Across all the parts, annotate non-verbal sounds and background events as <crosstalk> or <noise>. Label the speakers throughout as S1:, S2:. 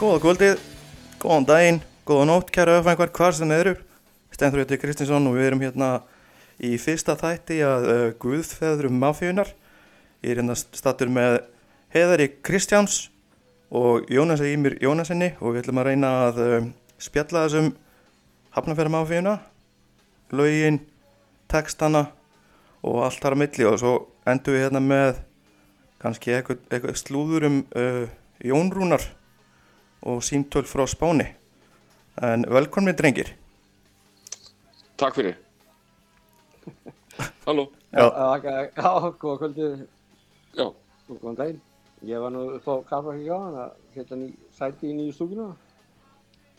S1: Góða kvöldið, góðan daginn, góða nótt, kæra öfængar, hvar sem þeir eru. Stendur þetta Kristinsson og við erum hérna í fyrsta þætti að uh, Guðfeðrum mafíunar. Ég er hérna stattur með Heðari Kristjáns og Jónas Ímir Jónasinni og við ætlum að reyna að um, spjalla þessum hafnafæra mafíuna, lögin, textana og allt þar á milli og svo endur við hérna með kannski eitthvað, eitthvað slúður um uh, Jónrúnar og símtöl frá Spáni en velkomin drengir
S2: Takk fyrir. Halló,
S1: Já.
S3: Já, já, góða kvöldið
S2: já,
S3: og góðan daginn. Ég var nú upp á kaffa ekki á hann að setja ný, sæti í nýju stúkuna.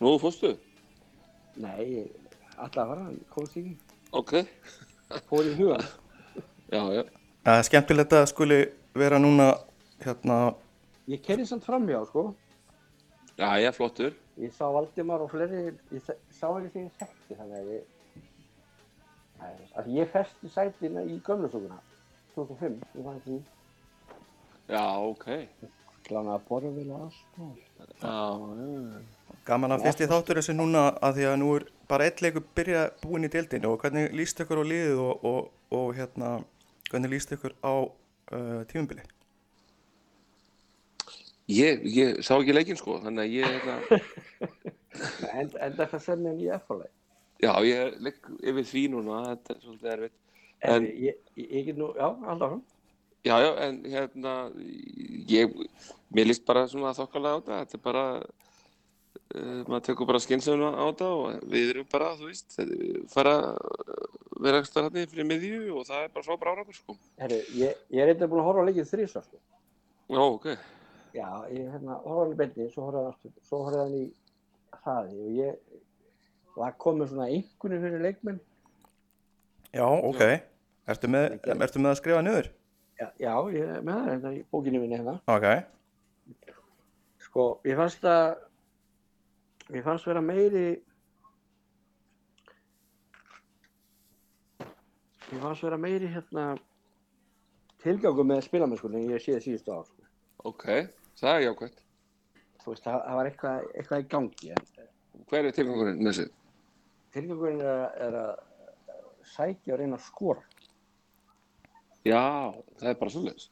S2: nú fórstu,
S3: Nei, alltaf var hann, komst ekki,
S2: ok,
S3: fór í hugan.
S2: já, já,
S1: Það er skemmtilegt að skuli vera núna hérna
S3: Ég kerði samt framhjá, sko.
S2: já, já, flottur,
S3: Ég sá Valdimar og fleiri, ég þe- sá ekki þegar ég þekkti, þannig að ég... Nei, að ég festi sætina í gömlu stúkuna, 2005, ég var ekki
S2: já, ok,
S3: glána að borða vel og allt. sko. og-
S2: já, já,
S1: gaman að fyrst í þáttur þessu núna að því að nú er bara eitt leikur byrja búin í deildinu og hvernig líst ykkur á liðið og, og, og hérna hvernig líst ykkur á uh, tímumbili
S2: ég, ég sá ekki leikinn sko, þannig að ég, hérna,
S3: En, en þetta sem er nýja f
S2: já, ég legg yfir því núna, þetta er svolítið erfitt,
S3: En
S2: En-
S3: ég, ég, ég get nú, já, alltaf.
S2: já, já, en hérna, ég, mér líst bara svona þokkalega á þetta, þetta er bara, uh, maður tekur bara skynsefna á þetta og við erum bara, þú veist, þetta- fara, uh, vera ekki stöðar hann fyrir miðju og það er bara frábæra árangur sko,
S3: Herru, ég, ég er eitthvað búin að horfa á leikið þrísvar, sko.
S2: já, ok,
S3: Já, ég hérna, horfa á hann í beinni, svo horfa hann aftur, svo horfa hann í hraði og ég var komið svona einhvern fyrir leikmenn.
S1: Já, ok Ertu með, ertu með að skrifa niður?
S3: Já, já, ég er með það hérna í bókinu minni hérna.
S1: Ok
S3: Sko, ég fannst að, ég fannst vera meiri, ég fannst vera meiri hérna tilgjáku með spilamennskunni en ég séð síðustu ár, sko.
S2: ok, það er jákvæmt.
S3: þú veist, það, það var eitthvað, eitthvað í gangi en
S2: Hver er tilgangurinn með þessu?
S3: tilgjöngurinn er, að- er að sækja og reyna að skora
S2: Já, það er bara svolítið.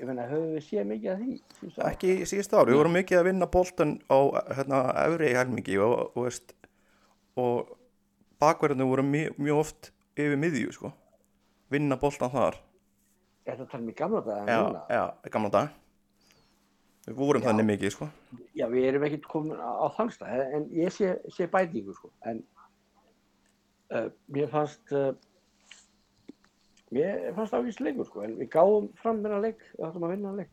S3: ég meina, höfum við séð mikið af því síðustu ár?
S1: Ekki í síðust ár, við vorum mikið að vinna boltan á hérna, efri helmingi og, og, veist, og bakverðinu voru mjög, mjög oft yfir miðju sko. vinna boltan þar
S3: er það talað um í gamla dag
S1: já, já, í gamla dag við vorum þannig mikið sko.
S3: já, við erum ekkert komin á, á þangstað en ég sé, sé bætingu sko. en uh, mér fannst uh, mér fannst ákveðs leikur sko. en við gáum fram meina leik við ætlum að vinna þennan leik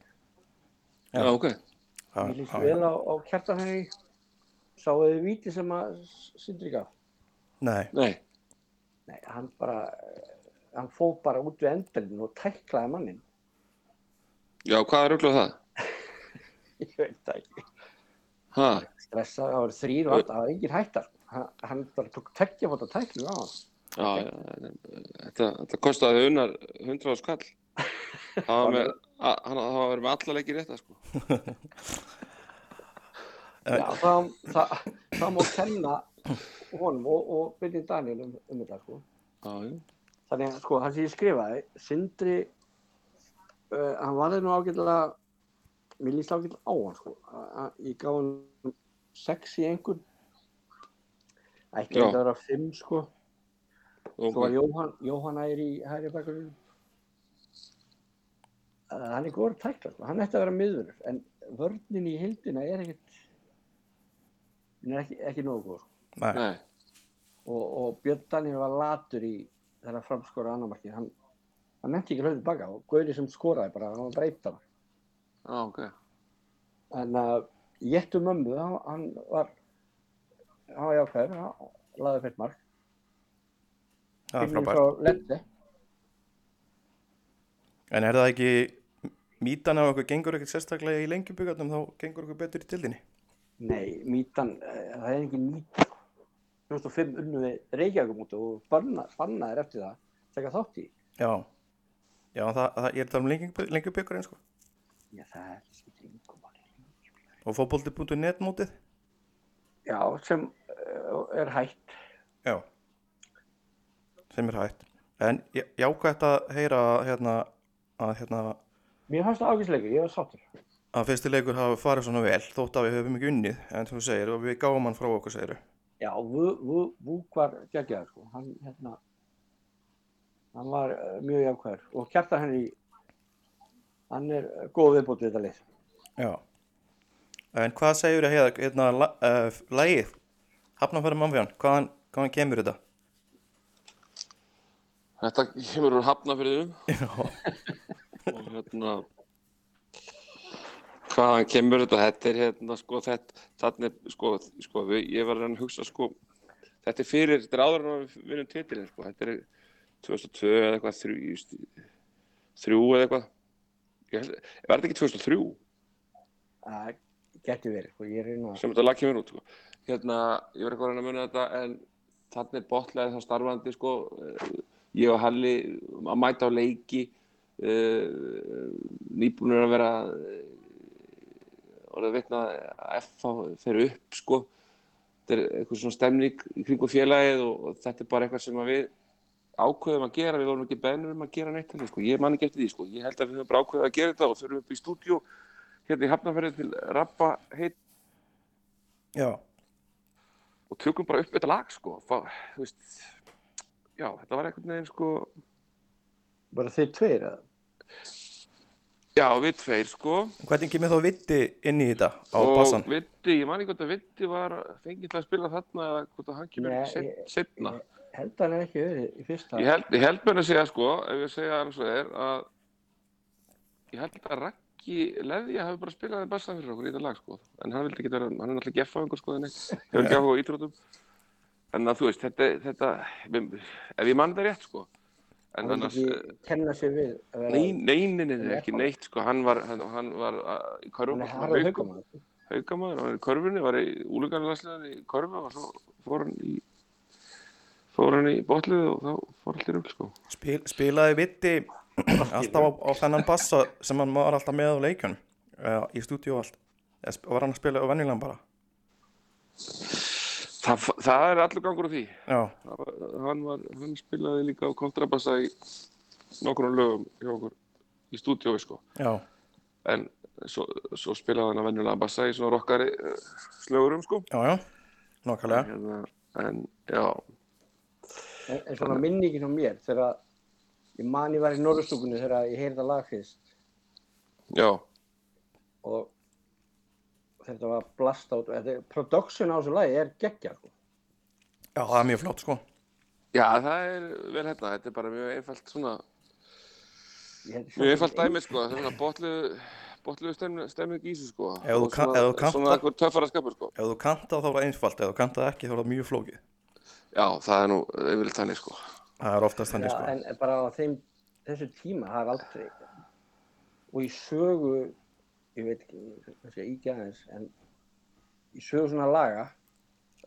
S1: Já.
S2: Já, ok.
S1: Það-
S3: Mér líst
S1: það-
S3: vel á, á kjartanhegi sáu þið víti sem að Sindri gaf
S1: nei,
S2: Nei,
S3: Nei, hann bara, eh, hann fóð bara út við endurinn og tæklaði mannin.
S2: já, hvað er auðvitað það?
S3: <laughs> Ég veit það ekki.
S2: Ha,
S3: Stressaði, það var þrýr og allt, það var engin hættar. Hann, hann bara tók tekja fót að tækla á hann.
S2: já, já, þetta, þetta kostiði unnar 100 skall. Það var með, a- hann- það var með alla leikir rétta, sko.
S3: Já, það, það, það má kenna honum og, og byrja Daniel um, um þetta, sko.
S2: Já, já.
S3: Þannig að, sko, hann sem ég skrifaði, Sindri, uh, hann varði nú ágætlega, mér líst ágætlega á hann, sko. Að- að- Ég gaf hann sex í einhvern. Ætti
S2: Já.
S3: þetta að vera fimm, sko. Svo var
S2: Ok,
S3: Jóhann, Jóhann æri í hægri bakurinn. Hann er góður tækla, sko. hann ætti að vera miðvörður, en vörnin í hildina er ekkert, hún er ekki, ekki nógu góð. sko.
S1: nei.
S2: nei,
S3: Og, og Björn Daniel var latur í þegar framskora annarmarkið, hann, hann nefndi ekki hlaupið baka og Gauri sem skoraði bara, hann var breypt hann.
S2: já, ok.
S3: En uh, Jettu mömmu, hann, hann var, hann var jákvæður, hann laði fett mark.
S1: það er
S3: Finnur
S1: frábært
S3: frá Lente.
S1: en er það ekki mítan af okkur gengur ekkert sérstaklega í lengjubugarnum þá gengur okkur betur í tildinni
S3: Nei, mýtan, eh, það er ekki mýtan. 2005 unnum við Reykjavíkum út og banna, bannaðir eftir það, taka þátt í.
S1: já, já það, það, ég er að tala um lengjubugarinn sko.
S3: Já, það er ekki skiptir yngum manni.
S1: Og fótbolti.net mótið?
S3: já, sem uh, er hægt
S1: Já. Sem er hægt. En ég ég ákvæmt að heyra hérna, að, hérna,
S3: mér fannst það ágæsleika, ég var sáttur
S1: að fyrsti leikur hafi farið svona vel þótt að við höfum ekki unnið en þú segir og við gáum hann frá okkur segir
S3: já, Vú- Vú- Vúk var geggjaður sko. hann, hérna, hann var uh, mjög jákvæður og kjartar henni hann er uh, góð viðbótt við þetta lið
S1: Já. En hvað segir þér hérna, hérna la- eh, lagið? Hafnafæri mannfjörn, hvaðan, hvaðan kemur þetta?
S2: Þetta kemur úr hafnafyrðum
S1: Já.
S2: og hérna hvaðan kemur þetta þetta er hérna sko þetta þarna er sko, sko við, ég var að reyna að hugsa sko þetta er fyrir, þetta er áður en við vinnum titilin sko þetta er 2002 eða eitthvað þrjú, just, þrjú eða eitthvað ég held, var þetta ekki 2003
S3: það getur verið sko. ég er einu að
S2: sem þetta lag kemur út sko hérna, ég var eitthvað að reyna að muna þetta en þarna er botlaðið þá starfandi sko eh, ég og Halli að mæta á leiki uh, nýbúnir að vera eh, orðið vitna að FH fer upp sko þetta er eitthvað svona stemning í kringu félagið og, og þetta er bara eitthvað sem að við ákveðum að gera, við vorum ekki beðnir um að gera neitt þannig, sko. ég man ekki eftir því sko. ég held að við höfum bara ákveðið að gera þetta og þurfum upp í stúdíu hérna í Hafnarferði til Rappa heit
S1: Já.
S2: og tökum bara upp þetta lag sko Fá, þú veist já, þetta var einhvern veginn sko
S3: bara þeir tveir að
S2: já, við tveir sko
S1: Hvernig kemur þá viti inn í þetta á
S2: og
S1: passan?
S2: Vitti, ég man ekki hvort að Vitti var fengið til að spila þarna eða hvort að hann kemur
S3: Nei,
S2: set,
S3: ég-
S2: setna ég,
S3: ég held að hann er ekki verið í fyrsta
S2: held, ég held mér að segja sko ef ég segja eins og er að ég held að Raggi Leðja hafi bara spilað það besta fyrir okkur í þetta lag sko en hann vildi ekki vera, hann er náttúrulega ekki effaðingur sko þannig, hefur ekki áhuga á íþrótum en að þú veist, þetta, þetta ef ég man það rétt sko en
S3: hann
S2: annars, eh,
S3: annars, ekki kenna sér við að vera
S2: Nei, nei, nei, nei, nei,
S3: Nei,
S2: ekki
S3: hann-
S2: neitt, sko, hann var, hann, hann var uh, í körfum,
S3: hann er harða
S2: haukum, haukamæður,
S3: haugamann
S2: hann var í körfunni, var í úlugarlagslegar í körfu og svo fór hann í, fór hann í botlið og þá fór allir upp, sko.
S1: Spil, spilaði viti alltaf á, á þennan passa sem hann var alltaf með á leikjun uh, í stúdíu og allt Eða sp- var hann að spila á venjulegan bara
S2: Þa, það er allur gangur á því.
S1: já,
S2: Það var- Hann var, hann spilaði líka á kontrabassa í nokkrum lögum hjá okkur í stúdíói, sko.
S1: já,
S2: En svo, svo spilaði hann að venjulega bassa í svona rockari eh, slögurum, sko.
S1: já, já nokkalega,
S2: Hérna, en, já,
S3: En, en svona minningin á mér þegar að ég man ég var í Norðurstúkunni þegar að ég heyrði það lag fyrst
S2: já,
S3: og þetta var blast out þetta, production á þessu lagi er geggja sko.
S1: já, það er mjög flott sko
S2: Já, það er vel hérna, þetta er bara mjög einfalt svona,
S3: Ég held
S2: mjög einfalt
S3: samt-
S2: dæmi sko, það er svona botlu, botlu stemming í þessu sko.
S1: Ef þú
S2: Og
S1: ka-
S2: svona-
S1: ef þú kannt
S2: Svona
S1: það-
S2: eitthvað töffara skapur sko.
S1: ef þú kanta þá er það einfalt, ef þú kanta ekki þá er það mjög flókið
S2: Já, það er nú yfirleitt þannig sko.
S1: það er oftast þannig
S3: Já,
S1: sko
S3: en bara á þeim, þessu tíma það er aldrei og í sögu ég veit ekki, kannski að íkja aðeins en í sögu svona laga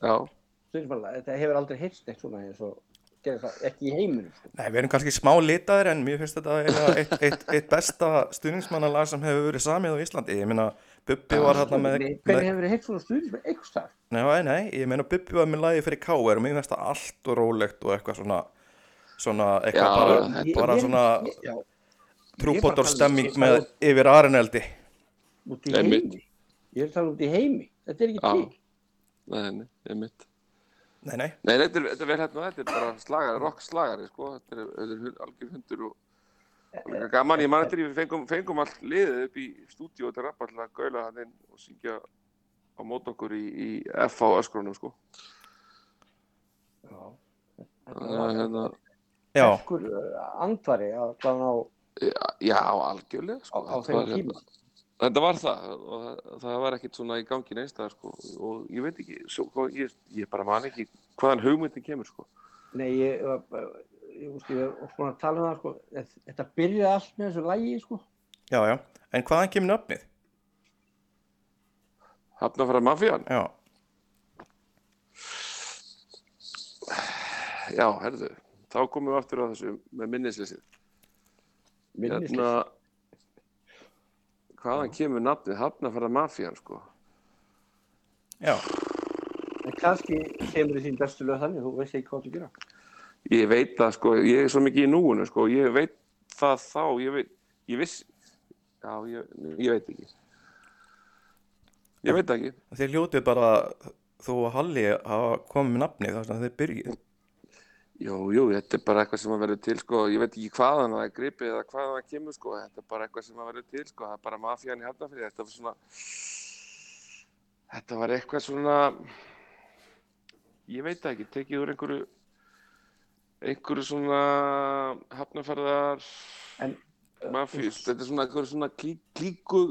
S2: Já,
S3: stundismanlega, þetta hefur aldrei heyrst neitt svona eins og gerði það ekki í heiminum sko.
S1: Nei, við erum kannski smá litaðir en mér finnst þetta eiginlega eitt, eitt, eitt besta stuðningsmannalag sem hefur verið samið á Íslandi. Ég meina, Bubbi var hérna með...
S3: Nei,
S1: með-
S3: hvernig hefur verið heilt svona stundismann einhvers þar
S1: Nei, nei, ég meina Bubbi var með lagi fyrir K.R. og mér finnst það allt og rólegt og eitthvað svona svona,
S2: Já,
S1: eitthvað bara,
S2: þetta-
S1: bara svona
S3: já,
S1: trúbótorstemming
S3: ég-
S1: með yfir Arneldi
S3: út í
S2: Einmitt.
S3: heimi ég er að tala út í heimi, þetta er ekki
S2: Já.
S3: til
S2: nei, nei, ég mitt.
S1: Nei, nei,
S2: Nei, þetta er, þetta er vel hérna, þetta er bara slagari, rock slagari sko, þetta er, þetta er hu- algjör hundur og og líka gaman, ég man eftir því við fengum, fengum allt liðið upp í stúdíu og þetta rapp alltaf að gaula hann inn og syngja á mót okkur í, í FH öskrunum sko.
S3: Já.
S2: Þannig að hérna,
S1: já,
S3: Ferskur, uh, andvari að glána á,
S2: Já, já, algjörlega
S3: á,
S2: sko.
S3: á
S2: Þetta
S3: þeim
S2: var-
S3: tíma
S2: Þetta var það og það- það var ekkert svona í gangi neins það sko og ég veit ekki, svo, hvað- ég, ég bara man ekki hvaðan hugmyndin kemur sko.
S3: Nei, ég var bara- ég veist, ég var svona að tala um það sko, þe- þetta byrjaði allt með þessu lægi sko.
S1: já, já En hvaðan kemur nöfnið?
S2: Hafnafæra mafían?
S1: Já,
S2: Já, herðu, þá komum við aftur á þessu með minnisleysið.
S3: Minnisleysi.
S2: Hérna, hvaðan kemur nafnið Hafnafæra mafían sko?
S1: já,
S3: En kannski kemur þín bestu lög þannig, þú veist ekki hvað þú gera.
S2: Ég veit það sko, ég er svo mikið í núinu sko, ég veit það þá, ég veit, ég viss, já, ég, ég veit ekki. Ég veit það ekki.
S1: þið hljótið bara þú og Halli hafa komið með nafni þar sem þið byrjuð
S2: Jú, jú, þetta er bara eitthvað sem að verður til sko, ég veit ekki hvaðan það er gripið eða hvaðan það kemur sko, þetta er bara eitthvað sem að verður til sko, það er bara mafían í Hafnarfirði, þetta var svona, þetta var eitthvað svona, ég veit það ekki, tekið úr einhverju, einhverju svona Hafnarfjörðar,
S3: En,
S2: mafíu, þetta er svona einhverju svona klí, klíku,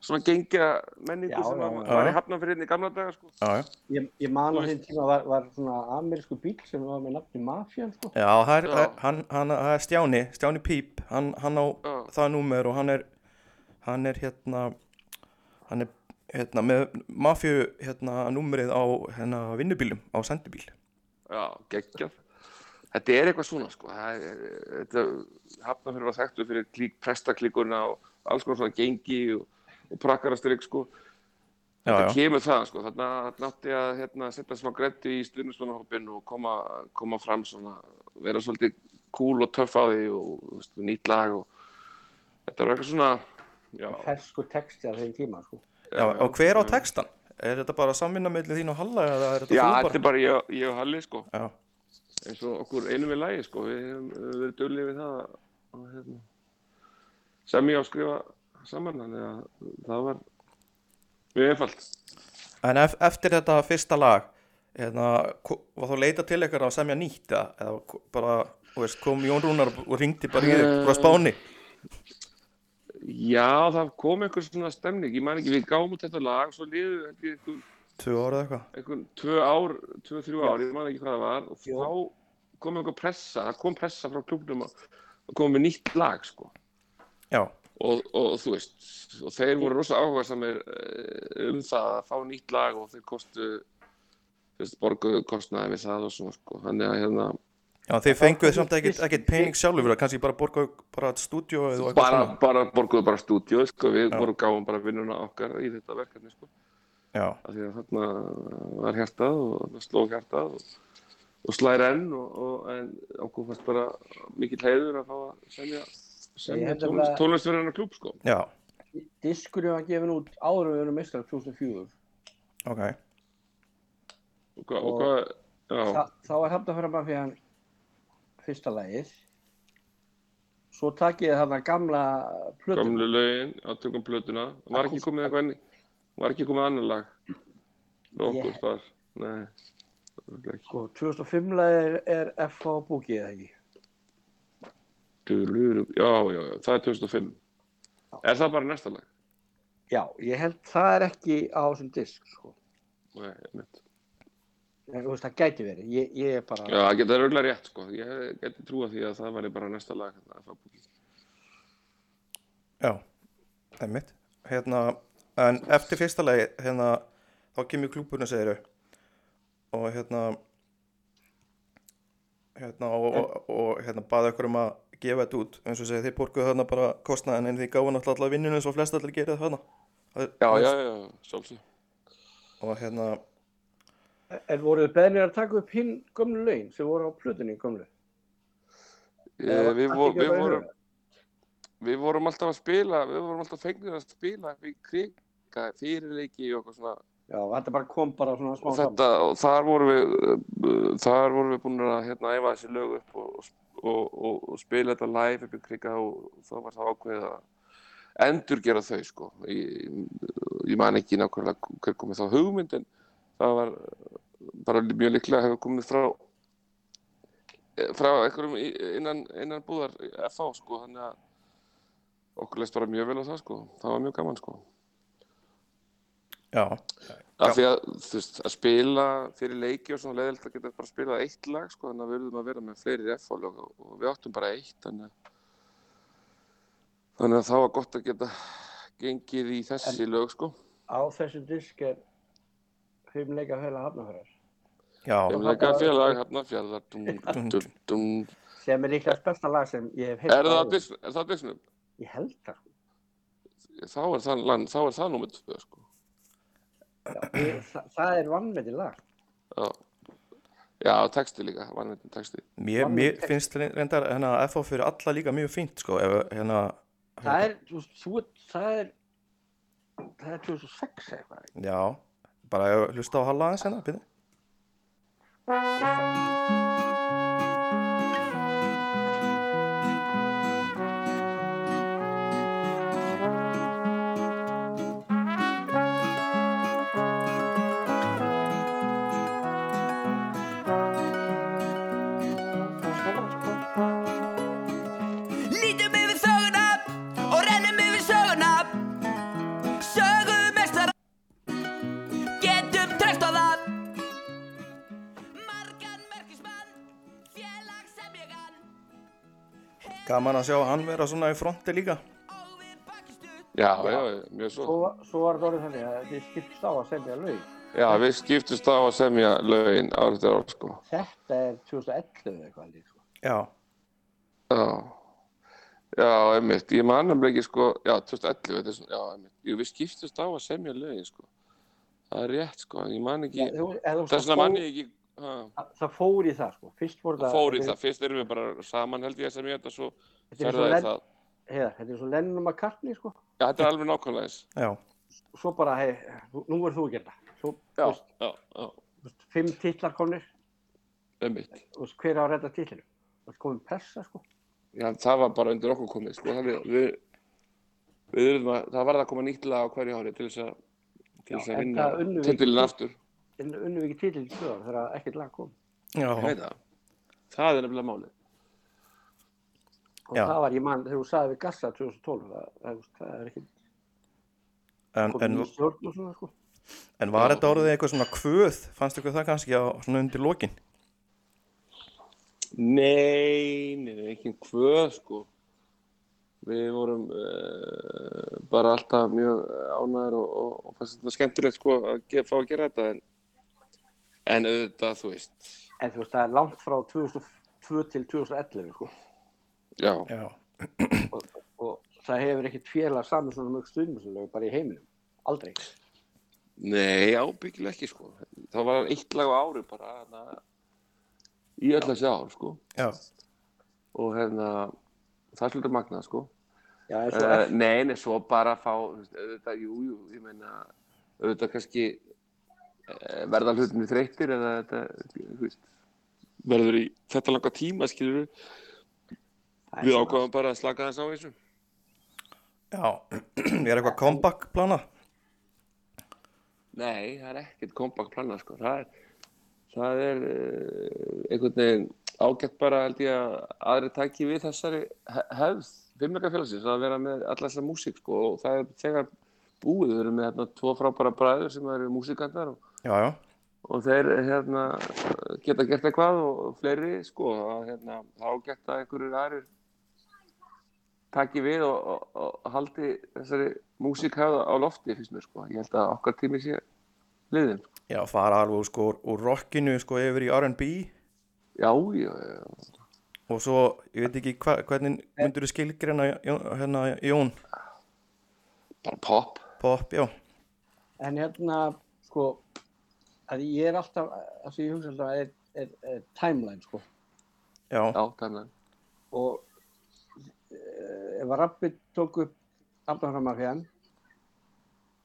S2: svona gengja menningu
S3: Já,
S2: sem
S3: já,
S2: að
S3: já.
S2: var í Hafnarfjörðinni í gamla daga sko.
S1: já, já.
S3: Ég, ég man á þeim tíma var, var svona amerísku bíl sem var með nafni Mafia, sko.
S1: já, það er,
S2: Já.
S1: það er- hann, hann, það er Stjáni Stjáni Píp, hann, hann á
S2: Já,
S1: það númer og hann er hann er hérna hann er hérna með mafju hérna númerið á hérna vinnubílum á sendibíl
S2: Já, geggjað. Þetta er eitthvað svona, sko. Það er, þetta, Hafnarfjörður var þekktu fyrir klík, prestaklíkuna og alls konar svona gengi og, og prakkarastrygg, sko.
S1: Já,
S2: Þetta
S1: já.
S2: kemur það, sko. Þarna þarna átti ég að hérna, setja smá grætti í stuðnismannahópin og koma, koma fram svona, vera svolítið cool og töff á því og þú veist, með nýtt lag og þetta var eitthvað svona, já.
S3: Fersku texti á þeim tíma, sko.
S1: Já, og hver á textan? Er þetta bara samvinna mellið þín og Halla eða er þetta
S2: Já,
S1: þú
S2: þetta er bara ég, ég og Halli, sko.
S1: Já,
S2: eins og okkur einum við lægi sko, við hefum uh, verið duglið við það að- að hérna, sem ég á að skrifa saman þannig að það var mjög einfalt.
S1: en ef, eftir þetta fyrsta lag hérna, ko- var þá leita til eitthvað að semja nýtt eða, eða ko- bara, þú veist, kom Jón Rúnar og ringdi bara í þig frá Spáni
S2: Já, það kom einhver svona stemning, ég man ekki, við gáum út þetta lag og svo liðu held ég, einhver,
S1: Tvö ára eitthvað
S2: einhver tvö ár, tvö, þrjú ár, ég man ekki hvað það var og
S3: Jú.
S2: þá kom einhver pressa, það kom pressa frá klubnum og, og kom við nýtt lag sko.
S1: Já,
S2: og, og þú veist, og þeir voru rosa áhuga samir um það að fá nýtt lag og þeir kostu þú veist, borguðu kostnaði við það og svona sko, þannig að hérna
S1: já þið fenguð samt ekkert, ekkert pening sjálfur fyrir það, kannski bara borga bara stúdíó eða eitthvað
S2: bara,
S1: svona.
S2: bara borguðu bara stúdíu, sko, við
S1: Já.
S2: voru gáum bara vinnuna okkar í þetta verkefni, sko,
S1: Já,
S2: af því að þarna var hjartað og þarna sló hjartað og, og slæri enn og, og en okkur fannst bara mikill heiður að fá að semja,
S3: Ég
S2: semja
S3: held
S2: tónlist,
S3: nefnilega-
S2: tónlist fyrir hennar klúb, sko.
S1: já,
S3: Diskurinn var gefin út áður en við verðum meistrar 2004.
S1: ok
S2: Og, hvað-
S3: Og-
S2: og hvað, já,
S3: Þa, þá er hafði að fyrir maður fyrir hann fyrsta lagið. Svo takk ég þarna gamla plötum.
S2: Gamlu lögin, átökum plötuna. Var ekki komið eitthvað enni, var ekki komið annar lag. Með Okkur
S3: Ég-
S2: þar, nei. örugglega ekki.
S3: Sko, 2005 lagið er, er FH Búkið eða ekki.
S2: Duluru, já, já, já, það er 2005. Er það bara næsta lag?
S3: Já, ég held það er ekki á þessum disk, sko.
S2: Nei, einmitt.
S3: En, þú veist, það gæti verið. Ég, ég er bara...
S2: Já, það getur auðvitað rétt, sko. Ég geti trúa því að það væri bara næsta lag. Það er það búið.
S1: Já, einmitt hérna, en eftir fyrsta lagi hérna, þá kemur klúbun og segir og hérna hérna og, og, og hérna baða ykkur um að gefa þetta út eins og segja þeir borguðu þarna bara kostnaðin en þeir gáðu náttúrulega alla vinnunum eins og flest allir gerið þarna Það-
S2: Já, já, já, já, sjálfsög.
S1: og hérna,
S3: En voruð beðnir að taka upp hinn gömlu lögin sem voru á plötunni gömlu?
S2: Eh, Við, vor, við, vorum,
S3: vorum...
S2: við vorum alltaf að spila, við vorum alltaf fengnir að spila við kriga fyrirleiki og okkur svona
S3: Já, þetta bara kom bara svona smá
S2: og
S3: saman.
S2: þetta, og þar vorum við uh, þar vorum við búin að hérna æfa þessi lög upp og, og, og, og spila þetta live upp í krika og þá var það ákveðið að endurgera þau sko ég, ég man ekki nákvæmlega hver komið þá hugmynd en það var eh, bara mjög líklega hefur komið frá eh, frá einhverjum í- innan, innan búðar FH sko þannig að okkur leist bara mjög vel á það sko það var mjög gaman sko
S1: já
S2: af því að þú veist að spila fyrir leiki og svona leðilt að geta bara spilað eitt lag sko þannig að við verðum að vera með fleiri F-fólk og, og við áttum bara eitt þannig að þannig að það var gott að geta gengið í þessi lög sko
S3: Á þessum disk er fimm leika heila hafnafærar.
S1: já,
S2: þeim leika félag hérna fjallar <laughs> dum, dum, dum, dum.
S3: Sem er líklega besta lag sem ég hef heilt
S2: er það á Disney- er það á disnum
S3: Ég held það.
S2: þá er það, land- þá er það númur tvö sko
S3: Já, ég, það, það er vannmetið lag
S2: Já, já texti líka, vannveitin texti.
S1: Mér,
S3: Vann
S1: mér
S3: ekki.
S1: finnst reyndar hérna, FH fyrir alla líka mjög fínt sko, ef, hérna,
S3: það er, þú, veist, þú, ert- það er það er 2006 eitthvað ekki?
S1: já, bara ef- hlusta á Halla aðeins hérna, byrði.
S4: Lítum yfir þöguna og rennum yfir söguna Sögum mestara Getum treyst á það Margan merkismann Félag sem ég kann
S1: Gaman að sjá hann vera svona í fronti líka.
S4: Og við bakistu
S2: Já, já, mjög svo.
S3: svo, svo var það orðið þannig að þið skiptist á að semja lög
S2: Já, við skiptust á að semja lögin árið til ár, sko.
S3: þetta er 2011 eða eitthvað líka sko.
S1: Já,
S2: Já, já, einmitt. Ég man nefnilega ekki, sko, já, 2011, þetta er svona, já, einmitt. Jú, við skiptust á að semja lögin, sko. Það er rétt, sko, ég man ekki,
S3: Ég- þú- eða þú-
S2: þess
S3: það
S2: vegna man
S3: fór-
S2: ég ekki, ha,
S3: það- það fór í það sko. fyrst voru það
S2: það fór í það. Fyrst erum við bara saman, held ég, að semja þetta, svo
S3: þetta er svo
S2: ferðaði
S3: Len-
S2: það.
S3: Heiðar, þetta er svo Lennon McCartney sko.
S2: Já, þetta er alveg nákvæmlega eins.
S1: já,
S3: svo bara, hei, nú nú er þú að gera það. svo,
S2: Já,
S3: þú veist,
S2: já, já,
S3: þú veist, fimm titlar komnir
S2: einmitt.
S3: þú veist, hver á að redda titlinu það er komin pressa sko.
S2: Já, það var bara undir okkur komið, sko, það við, við, við erum að, það varð að koma nýtt lag á hverju ári til þess að, til þess
S3: Já,
S2: að
S3: en
S2: vinna
S3: það unnum við.
S2: titilin aftur.
S3: en unnum við ekki titlin í tvöðar þegar ekkert lag kom
S2: Ég
S1: já,
S2: veit það. Það er nefnilega málið.
S3: og
S1: Já.
S3: það var ég mann, þegar þú sagði við Gassa 2012 það, það, þú veist, það er ekki
S1: en,
S3: komið
S1: en,
S3: í stjórn og svona sko.
S1: en var þetta orðið eitthvað svona kvöð, fannst ykkur það kannski á svona undir lokin?
S2: Nei, nei, nei, ekki hvað, sko. Við vorum uh, bara alltaf mjög ánæður og, og, og fannst þetta skemmtilegt, sko, að ge- fá að gera þetta, en, en auðvitað, þú veist,
S3: en þú veist, það er langt frá 2002 til 2011 sko.
S2: já,
S1: Já,
S3: og, og það hefur ekkert félag saman svona mjög stundum bara í heiminum, aldrei
S2: Nei, ábyggilega ekki sko. Það var eitt lag á ári bara hana, í öll þessi ár sko.
S1: já,
S2: Og hérna, það er svolítið magnað sko.
S3: Já, en svo
S2: Uh,
S3: eftir,
S2: nei, nei, svo bara fá, þú veist, auðvitað, jú, jú, ég meina, auðvitað kannski eh, verða hlutinu þreyttir eða þetta, þú veist, verður í þetta langa tíma, skilur við,
S3: það er
S2: við
S3: svona-
S2: ákvaðum bara að slaka þess á þessu.
S1: já, <clears throat> er eitthvað comeback planað?
S2: Nei, það er ekkert kompakt planað sko. Það er, það er eh, einhvern veginn ágætt bara held ég að aðri taki við þessari he- hefð fimmleikafélagsins að vera með alla þessa músík sko og það er þegar búið, við erum með hérna tvo frábæra bræður sem eru músikantar og,
S1: Já, já,
S2: og þeir hérna geta gert eitthvað og fleiri sko að hérna það er ágætt að einhverjir aðrir taki við og, og, og haldi þessari músík á lofti finnst mér sko, ég held að okkar tími sé liðin sko.
S1: já, fara alveg sko úr, úr rockinu sko yfir í R&B
S2: Já, já, já.
S1: og svo, ég veit ekki hva, hvernig myndur þú skilgreina Jón- hérna Jón,
S2: Bara pop.
S1: pop, já,
S3: En hérna, sko, að ég er alltaf, það sem ég hugsa alltaf er, er, er timeline, sko.
S1: já,
S2: Já, þannig.
S3: Og eh, ef að Rappi tók upp Abnaðarmarfiðan,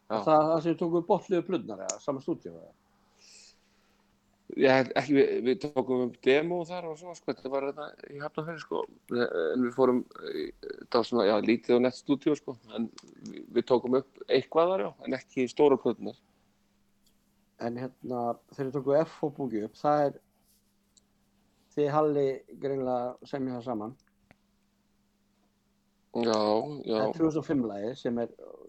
S2: Já.
S3: það það sem tók upp botliðu blundnar eða sama stúdíu eða.
S2: Ég, hef ekki, við, við tókum um demo þar og svo, sko, þetta var þetta í Hafnarferði, sko. En við fórum, í- þetta var svona, já, lítið á nettstúdíu, sko. En við, við tókum upp eitthvað þar, já, en ekki stóra plötunar.
S3: En hérna, þegar þið tóku F og búki upp, það er, þið Halli greinlega semja það saman.
S2: Já, já,
S3: Það er 2005 lagi sem er uh,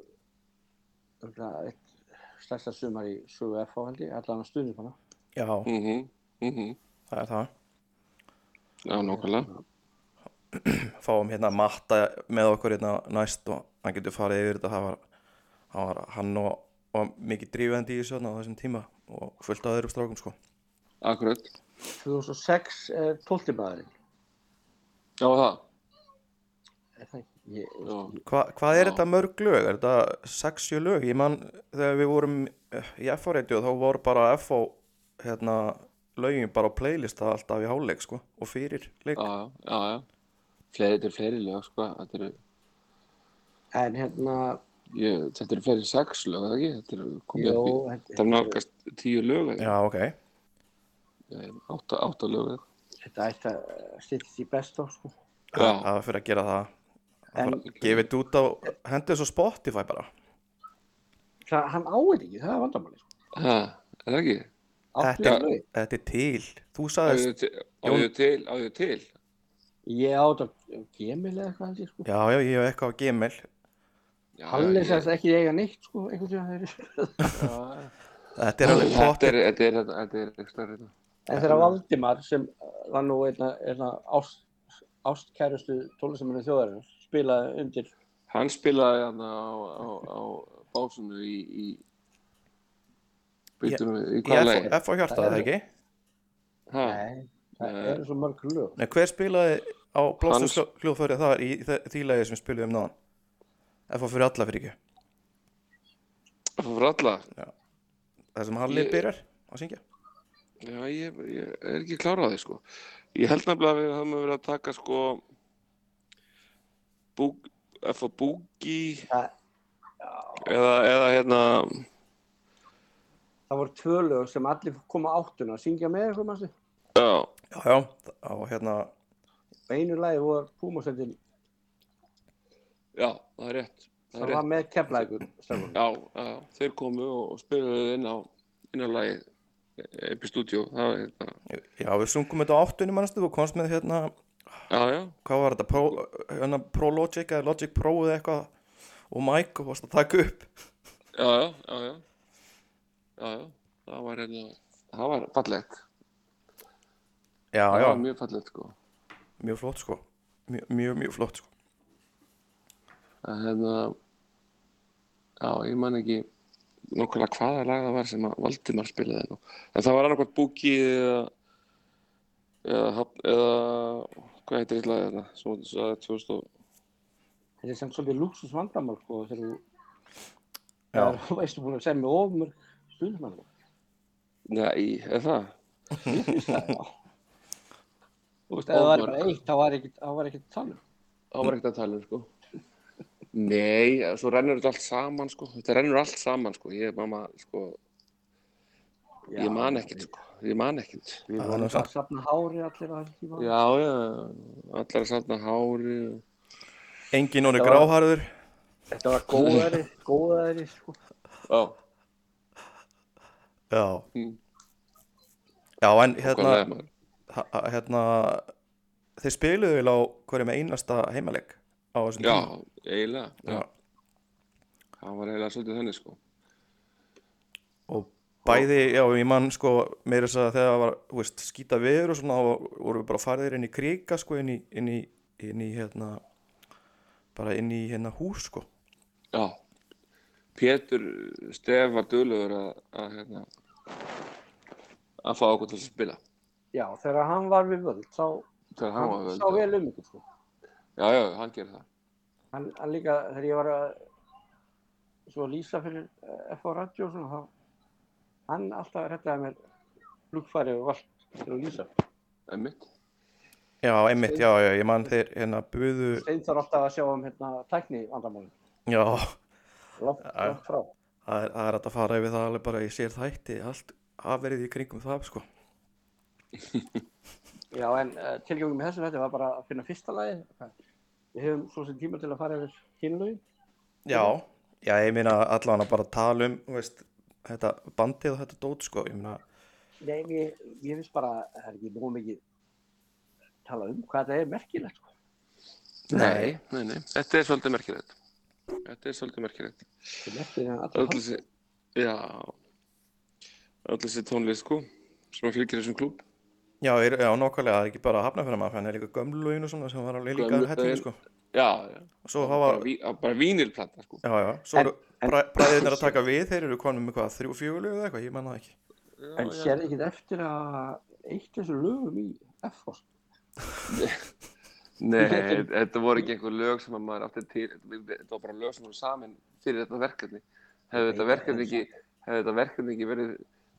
S3: örugglega eitt stærsta sumar í sögu F held ég, allan að stuðnum hana.
S1: já,
S2: mhm, mhm,
S1: það er það
S2: já, nákvæmlega.
S1: fáum hérna Matta með okkur hérna næst og hann getur farið yfir þetta það var, það var hann og, og mikið drífandi í þessu þarna á þessum tíma og fullt af öðrum strákum sko
S2: Akkurat.
S3: 2006 er 12. maðurinn,
S2: Já, það.
S3: er það ekki? ég,
S2: Já.
S1: Hva, hvað er
S2: Já.
S1: þetta mörg lög? Er þetta 60 lög? Ég man þegar við vorum eh, í F-á-reitju þá voru bara F-á hérna, lögin bara á playlista alltaf í háleik sko og fyrir leik.
S2: já, já, já. Fleiri, þetta er fleiri lög, sko. Þetta eru,
S3: en hérna
S2: ég, þetta eru fleiri sex lög, eða ekki? Þetta eru komið
S3: Jó,
S2: upp í,
S3: þetta-
S2: þetta er nálgast tíu lög, eða
S1: Já, ok.
S2: ekki? Átta, átta lög, eða eitthvað.
S3: þetta ætti að eh, styttast í best of sko.
S2: Já,
S1: Það er fyrir að gera það.
S3: En-
S1: En, gefið þetta út á, hendur þessu á Spotify bara.
S3: það, hann áið ekki, það er vandamáli sko.
S2: ha, er það ekki?
S1: Þetta
S3: Áttu
S1: er,
S3: lög.
S1: þetta er til. Þú
S2: Á
S1: sagðist,
S2: ég til- á ég til, á ég til.
S3: ég átt að gemil eða eitthvað held ég, sko.
S1: já, já, ég hef eitthvað á Gmail.
S2: Já,
S3: Halli
S2: ég-
S3: sagðist ekki eiga neitt sko, einhvern tíma þeir
S2: Já, já.
S1: Þetta er alveg
S2: Þetta
S1: potið.
S2: er, þetta er, þetta er ekki stærri. hérna.
S3: En þegar Valdimar, sem eh, var nú einna, einna ást, ástkærustu tónlistamönu þjóðarinnar, spilaði undir
S2: Hann spilaði hann á, á, á básunu í, í Býtum við, í hvaða lagi?
S1: F á hjarta,
S3: Það
S1: það
S3: er-
S1: ekki?
S2: Ha,
S3: Nei, það
S2: Nei.
S3: eru svo mörg lög.
S1: Nei, hver spilaði á
S2: Hans-
S1: blóstursljóðfærið þar í þe- því lagi sem spilaði um náðan? F á fyrir alla fyrir ekki.
S2: fyrir alla.
S1: Það sem Halli
S2: Ég-
S1: byrjar að syngja.
S2: Já, ég, ég er ekki klárað því, sko. Ég held nefnilega að við höfum verið að taka, sko, búk, F og Boogie
S3: Það,
S2: eða, eða hérna,
S3: það voru tvö lög sem allir koma áttuna að syngja með sko, eitthvað maður sig.
S2: já,
S1: Já, já, á hérna,
S3: Einu lagi voru Púmasöndin,
S2: já, það er rétt. Það
S3: það
S2: er
S3: var
S2: rétt.
S3: með keflækur. strákunum.
S2: Já, já, þeir komu og, og spiluðu inn á, inn á lagið e- upp í stúdíó. Það var hérna,
S1: já, við sungum þetta á áttunni mannstu, þú komst með hérna,
S2: já, já.
S1: hvað var þetta, Pro, hérna, Pro Logic eða Logic Pro eða eitthvað og Mike og varst að taka upp.
S2: Já, já, já, já, já, já, það var hérna, það var fallegt,
S1: Já,
S2: það
S1: já,
S2: var mjög fallegt sko,
S1: mjög flott sko, mjög, mjög, mjög flott sko.
S2: en hérna, já, ég man ekki nokkulega hvaða lag það var sem að Valdimar spilaði nú, en það var annað hvort Boogie eða, eða, Hafn- eða, hvað heitir eitt lag þarna, sem hún sagði 2000 og,
S3: Þetta er samt svolítið luxus vandamál, sko, þegar þú,
S1: Já.
S3: þegar þú veistu búin að segja með ofmörg stundum. <laughs>
S2: nei, er það?
S3: Þú veist, ef það var bara eitt, þá var ekkert, þá var ekkert talum.
S2: Það var ekkert að tala um sko. Nei, svo rennur þetta allt saman sko, þetta rennur allt saman sko, ég, mamma, sko, ég man ekkert sko, ég man ekkert.
S3: Við
S1: Það er
S3: vorum
S1: nú
S3: bara að safna hári allir á þessum tíma.
S2: Já, já, allar að safna hári og...
S1: Engin orði
S3: Já.
S1: gráharður,
S3: Þetta var góðari, góðari, sko.
S2: Já,
S1: já.
S2: Mm.
S1: Já, en
S2: hérna...
S1: hérna, ha- ha- hérna, þeir spiluðu vel á hverjum einasta heimaleik á þessum
S2: Já,
S1: tíma.
S2: eiginlega. Já.
S1: Já.
S2: Það var eiginlega svolítið þannig, sko.
S1: og bæði, já, ég man sko meira þess að þegar það var, þú veist, skýta veður og svona, þá vorum við bara farðir inn í kriga sko, inn í, inn í, inn í hérna, bara inn í hérna hús sko,
S2: Já. Pétur Stef var dölur að, að, hérna, að fá okkur til að spila.
S3: Já, þegar hann var við völd, þá
S2: Þegar hann var
S3: hann
S2: völd.
S3: sá vel um ykkur, sko.
S2: Já, já, hann gerir það.
S3: Hann, hann líka, þegar ég var að, svo að lýsa fyrir eh, FH Radio og svona, þá, hann alltaf rettaði mér flugfæri og vald til að lýsa.
S2: Emmitt.
S1: já, einmitt, já, já, ég man þeir hérna buðu,
S3: Steinn þarf alltaf að sjá um hérna tækni vandamálum,
S1: já,
S3: langt,
S1: Já.
S3: langt frá.
S1: það er, það er hægt að fara yfir það alveg bara í sér þætti, allt afverið í kringum það sko,
S3: Já, en uh, tilgjöngum með þessu þetta var bara að finna fyrsta lagi. Við hefum svo sem tíma til að fara yfir hinlögin.
S1: já, já, ég meina allan að bara tala um, þú veist, þetta bandið og þetta dót sko, ég meina,
S3: Nei, mér, mér finnst bara, það er ekki nóg mikið tala um hvað þetta er merkilegt. Sko.
S2: Nei, nei, nei. Þetta er svolítið merkilegt. Þetta er svolítið merkilegt.
S3: Þetta er merkilegt en allir
S2: Öll þessi, já, öll þessi tónlist, sko, sem að fylgir þessum klúb.
S1: já, er, já, nokkvælega, það er ekki bara að hafna fyrir maður, þannig er líka gömlu lögin og svona sem var alveg líka
S2: Gömlu
S1: hættinni
S2: lögin.
S1: sko,
S2: Já, já.
S1: og svo
S2: bara,
S1: hafa,
S2: ví, að- bara vínilplata sko.
S1: Já, já, svo
S3: En-
S1: eru bræ, bræðirnir að taka við, þeir eru konum með hvað, þrjú, fjögulegu eða eitthvað, ég manna það ekki.
S3: En sér ekki eftir að eitt þessu lögum í F-fórst.
S2: Nei,
S3: getum-
S2: þetta voru ekki einhver lög sem að maður átti til, þetta var bara lög sem voru samin fyrir þetta verkefni. Hefði þetta verkefni ekki, hefði þetta verkefni ekki verið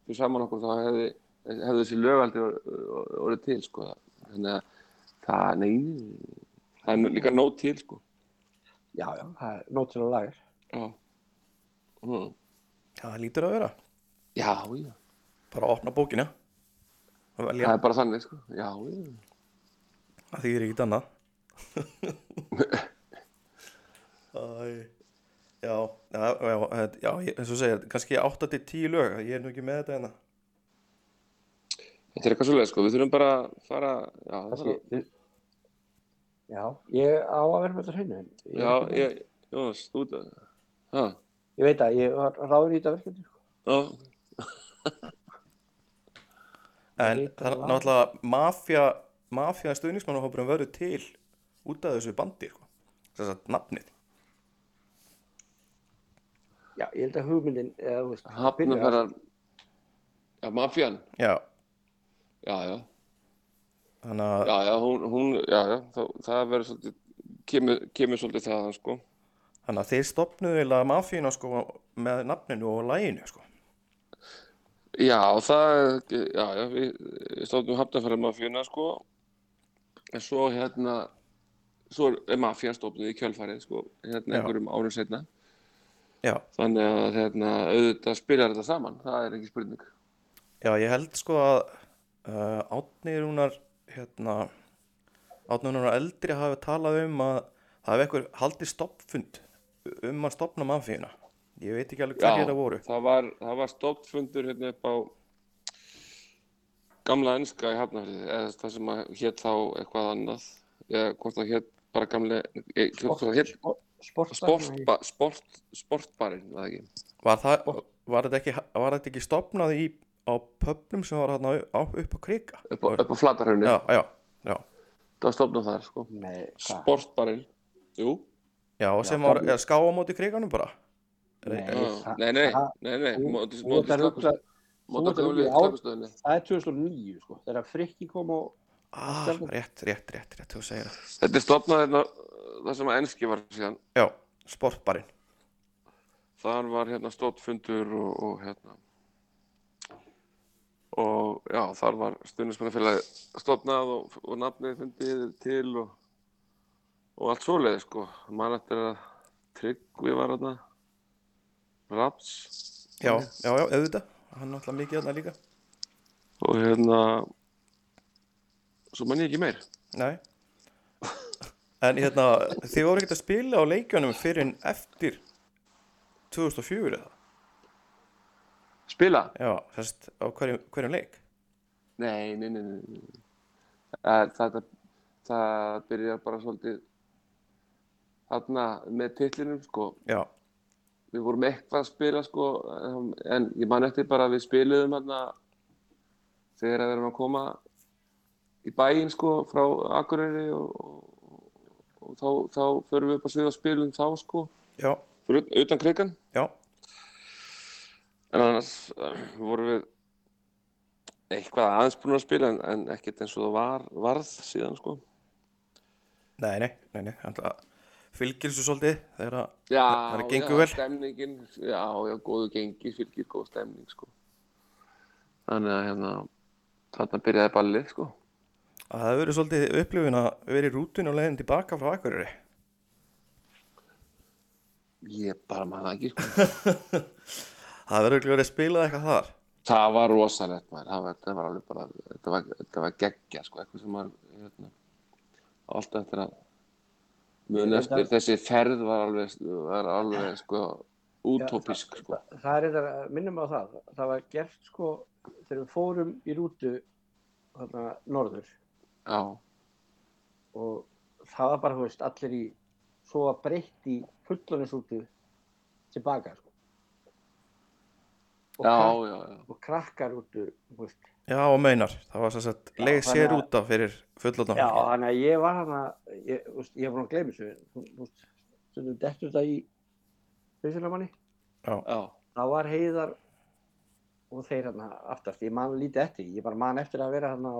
S2: fyrir saman okkur þá hefði, hefði þessi lög aldrei or- orðið til, sko. Þannig að það, nei, það er líka nóg til, sko.
S3: Já, já, það er nót til að laga.
S2: Já. Mm.
S1: Það lítur að vera.
S2: Já, já.
S1: Bara að opna bókina. Og velja.
S2: Það er bara þannig, sko. Já, já.
S1: Það þýðir ekkert annað. <laughs> Æ. Já, já, já, þetta- já, ég- eins og segja, kannski 8-10 lög, ég er nú ekki með þetta hérna.
S2: Þetta er eitthvað svolítið, sko. Við þurfum bara að fara, já, það
S3: Þessi, þið- já, ég á að vera með þetta hreinu. en Ég,
S2: Já, ég, Jónas, þú ert að, já,
S3: Ég veit að ég var ráður í þetta verkefni. sko.
S2: já,
S1: En
S3: Lítur
S1: það er
S3: lag.
S1: náttúrulega mafja, mafja stuðningsmannahópurum verður til út af þessu bandi, sko. Þess að nafnið.
S3: Já, ég held að hugmyndin, eða þú veist,
S2: hafnafærar, já, mafjan,
S1: Já,
S2: já, já,
S1: þannig að,
S2: já, já, hún, hún, já, já, það, það verður svolítið, kemur, kemur svolítið þaðan, sko.
S1: þannig að þeir stopnuðu eiginlega mafíuna, sko, með nafninu og læginu, sko.
S2: Já, það, já, já, við stóðum hafnafæra mafjuna, sko, en svo hérna, svo er mafjan stofnuð í kjölfarið, sko, hérna
S1: Já.
S2: einhverjum árum setna,
S1: Já,
S2: þannig að, hérna, auðvitað spilar þetta saman, það er ekki spurning.
S1: Já, ég held sko að uh, Átni Rúnar hérna, Átni Rúnar eldri hafi talað um að það hefði einhver haldið stoppfund um að stopna mafíuna ég veit ekki alveg hverjir það voru
S2: það var, það var stofnfundur hérna upp á gamla ennska í Hafnarfið, eða það sem að hétt þá eitthvað annað, eða hvort það hétt bara gamle, e, hvort það hétt
S3: Sport, sport,
S2: sportba, sport, sportbarinn, var það ekki?
S1: var, það, var, þetta ekki, var þetta ekki stopnað í, á pöblum sem var hérna á, upp á krika
S2: Upp á, upp á flatarhraunni,
S1: já, já, já,
S2: það var stofnað þar, sko.
S3: Nei, hvað?
S2: Sportbarinn, jú,
S1: já, og sem var er, ská á móti kriganum bara
S3: Nei,
S2: já,
S3: það-
S2: nei, nei,
S3: það-
S2: nei, nei,
S3: þú-
S2: móti,
S3: þú ert
S2: móti
S3: að
S2: slökust,
S3: hugsa- þú
S2: móti
S3: ert að
S2: gömlu
S3: hugsa í ár-
S2: slökustöðinni.
S3: Það er 2009, sko, þegar Frikki kom og
S1: ah,
S3: Stefán.
S1: rétt, rétt, rétt, rétt, þú segir það
S2: Þetta er stofnað hérna, það sem að ennski var síðan,
S1: já, sportbarinn
S2: þar var hérna stóttfundur og, og hérna og já, þar var stundismannafélagi stofnað og, og nafnið fundið til og, og allt svoleiði sko mann eftir að Tryggvi var hérna Raps
S1: já, já, já, auðvitað hann er náttúrulega mikið þarna líka
S2: og hérna svo mann ég ekki meir
S1: Nei En hérna, þið voru ekkert að spila á leikjunum fyrir en eftir 2004 eða?
S2: spila?
S1: Já, þess á hverjum, hverjum leik?
S2: Nei, nei, nei, nei, nei. Það, það, það byrjar bara svolítið þarna með titlinum sko
S1: Já,
S2: við vorum eitthvað að spila sko um, en ég man eftir bara að við spiluðum hérna þegar við erum að koma í bæinn sko frá Akureyri og, og, og þá, þá förum við upp að svið og spilum þá sko
S1: já,
S2: fyrir ut- utan krigan
S1: já,
S2: en annars uh, vorum við eitthvað aðeins búin að spila en, en ekkert eins og það var, varð síðan sko
S1: nei, nei, nei, nei, hann fylgir þessu svolítið þegar að
S2: Já,
S1: það er gengur
S2: já,
S1: vel.
S2: stemningin, já, já, góðu gengi fylgir góð stemning sko þannig að hérna þarna byrjaði ballið sko
S1: að það hefur verið svolítið upplifun að vera í rútun og leiðin tilbaka frá Akureyri.
S2: Ég bara maður það ekki, <laughs> sko.
S1: Það hefur örugglega verið að spila eitthvað þar.
S2: Það var rosalegt, maður. Það var, þetta var alveg bara, þetta var, þetta var geggja, sko, eitthvað sem maður, hérna, á alltaf eftir að muna eftir. Þessi ferð var alveg, var alveg, sko, útópisk, sko.
S3: það er þetta, minnum á það, það var gert sko þegar við fórum í rútu þarna norður
S2: Já,
S3: og það var bara, þú veist, allir í svo að breytt í fulloninsútu tilbaka sko. og,
S2: já,
S3: krak,
S2: já, já.
S3: og krakkar útu, þú veist
S1: Já, og meinar, það var svo sett
S3: Já,
S1: leið
S3: þannig
S1: sér
S3: að-
S1: útaf fyrir fullotnar.
S3: já, þannig að ég var hana ég, þú veist, ég var búin að gleyma þessu þú þú veist, stundum dettur þetta í hausinamanni
S2: Já,
S3: það var heiðar og þeir hérna aftast, ég man lítið eftir því. ég bara man eftir að vera hérna á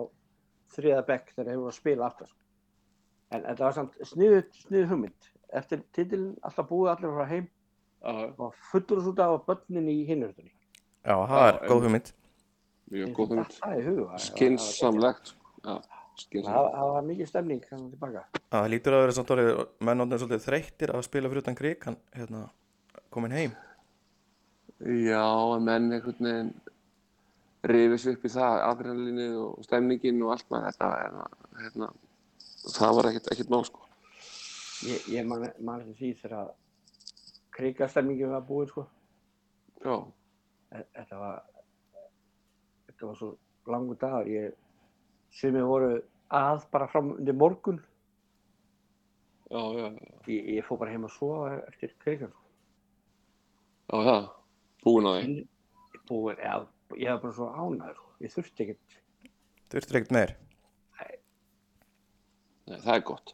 S3: þriða bekk þegar þeir voru að spila aftast En þetta var samt sniðut, sniðut hugmynd. Eftir titilin alltaf búið allir frá heim
S2: já,
S3: og fullur út af börnin í hinurðunni.
S1: Já, það er
S2: Já,
S1: góð hugmynd.
S2: mjög góð hund
S3: Það er huga.
S2: skinsamlegt sko. já,
S3: Það
S2: skinsamlegt
S3: það var mikið stemning kannski tilbaka.
S1: Það lítur að vera samt orðið, menn orðin svolítið þreyttir að spila fyrir utan krík, hann hérna, komin heim.
S2: já, en menn einhvern veginn rifið sér upp í það adrenalinið og stemningin og allt maður þetta hérna, hérna, það var ekkert, ekkert mál sko
S3: Ég, ég man, man eftir því þegar að krigastemningin var búið sko.
S2: já,
S3: E- Þetta var, þetta var svo langur dagur. Ég, sem ég voru að bara fram undir morgun.
S2: já, já,
S3: Ég, ég fór bara heim að sofa eftir krigan. Sko.
S2: já, já búin á því
S3: Ég, búið, ég, ég var bara svo ánæður. Sko. Ég þurfti ekkert.
S1: Þurftir ekkert meir.
S2: Nei, það er gott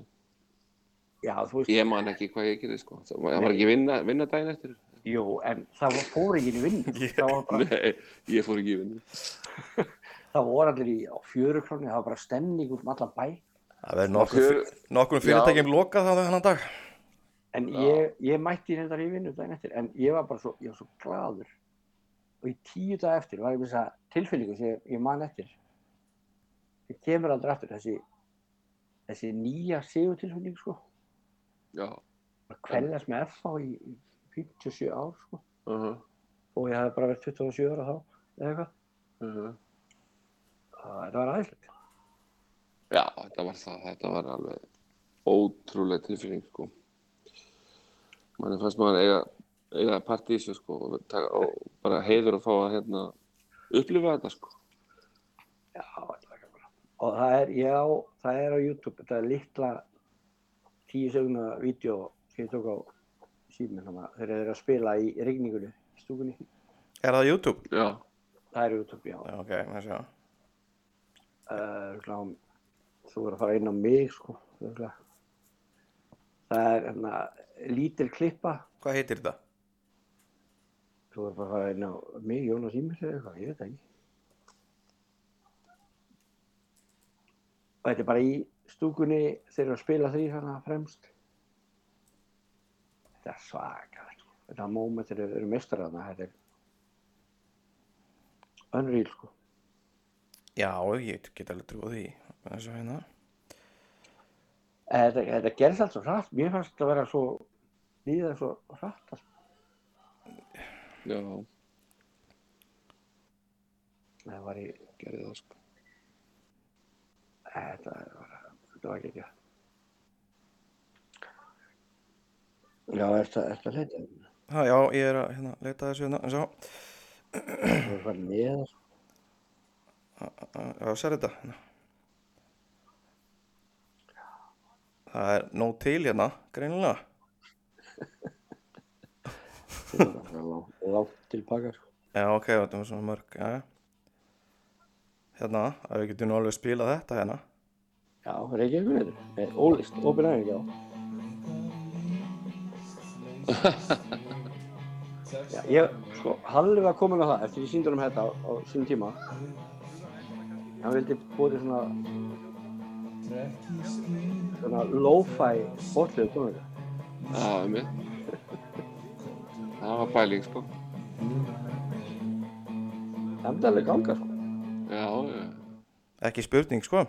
S3: Já, þú veist,
S2: ég man ekki hvað ég gerði sko það var það var ekki vinna, vinna daginn eftir
S3: jú, en það var fór ekki í vinn. Það var bara
S2: Nei, ég fór ekki í vinnu
S3: Það voru allir í á fjöru krónu, það var bara stemning út um allan bæ.
S1: Það verður nokkur,
S2: fjör-
S1: nokkur fyrirtækjum lokað þannig hennan dag.
S3: En ég, ég mætti reyndar í vinnu daginn eftir, en ég var bara svo, ég var svo gladur. Og í tíu dag eftir var ég með þessa tilfinningu sem ég, ég man eftir. Það kemur aldrei eftir þessi, þessi nýja sigur tilfinningu, sko.
S2: já,
S3: Að kveljast með FH í í 57 ár, sko.
S2: uh -huh,
S3: Og ég hafði bara verið 27 ára þá, eða eitthvað.
S2: uh
S3: Það þetta var aðeinslegt.
S2: já, þetta var það þetta var alveg ótrúlega tilfinning sko manni fannst maður eiga, eiga part í þessu sko og, taka, og bara heiður að fá að hérna upplifa þetta sko
S3: Já, þetta var gaman. Og það er, já, það er á YouTube, þetta er litla tíu seguna vídeo sem ég tók á síminn hana, þegar þeir eru að spila í regningunni, í stúkunni.
S1: Er það YouTube?
S2: já,
S3: Það er á YouTube, já.
S1: Já, ok, maður sjá.
S3: Uh, klám, þú verður að fara inn á mig, sko. örugglega. Það er hérna, lítil klippa,
S1: Hvað heitir þetta?
S3: þú verður bara að fara inn á mig, Jónas Ímir eða eitthvað, ég veit það ekki. Og þetta er bara í stúkunni, þeir eru að spila þrýr hana fremst. Þetta er svakalegt. sko. Þetta moment þeir eru mestar hana, þetta er unreal sko.
S1: Já, ég get alveg trúið því. Maður sjá hérna.
S3: En Eh, Þetta, þetta gerðist allt svo hratt, mér fannst þetta að vera svo, líða svo hratt allt.
S2: já,
S3: Það var í,
S2: gerði það sko
S3: þetta var, þetta var ekki ekki. Já, ertu ertu að leita?
S1: Ha, já, ég er að hérna, leita að þessu hérna. En sjá,
S3: Það var neðar.
S1: já, sér þetta. Hérna. Það er nóg til hérna, greinilega.
S3: Það var langt, langt tilbaka sko.
S1: Já, ok, þetta var svona mörg, já, já. Hérna, að við getum nú alveg spilað þetta hérna.
S3: Já, Reykjavík er ólist, opin aðeins, já. já, ég, sko, Halli var komin á það eftir ég sýndi honum þetta á, á sín tíma. Hann vildi búið til svona, svona lo-fi botlið tónleika.
S2: það var mér það var pæling sko
S3: Það myndi alveg ganga, sko.
S2: já, já,
S1: Ekki spurning, sko.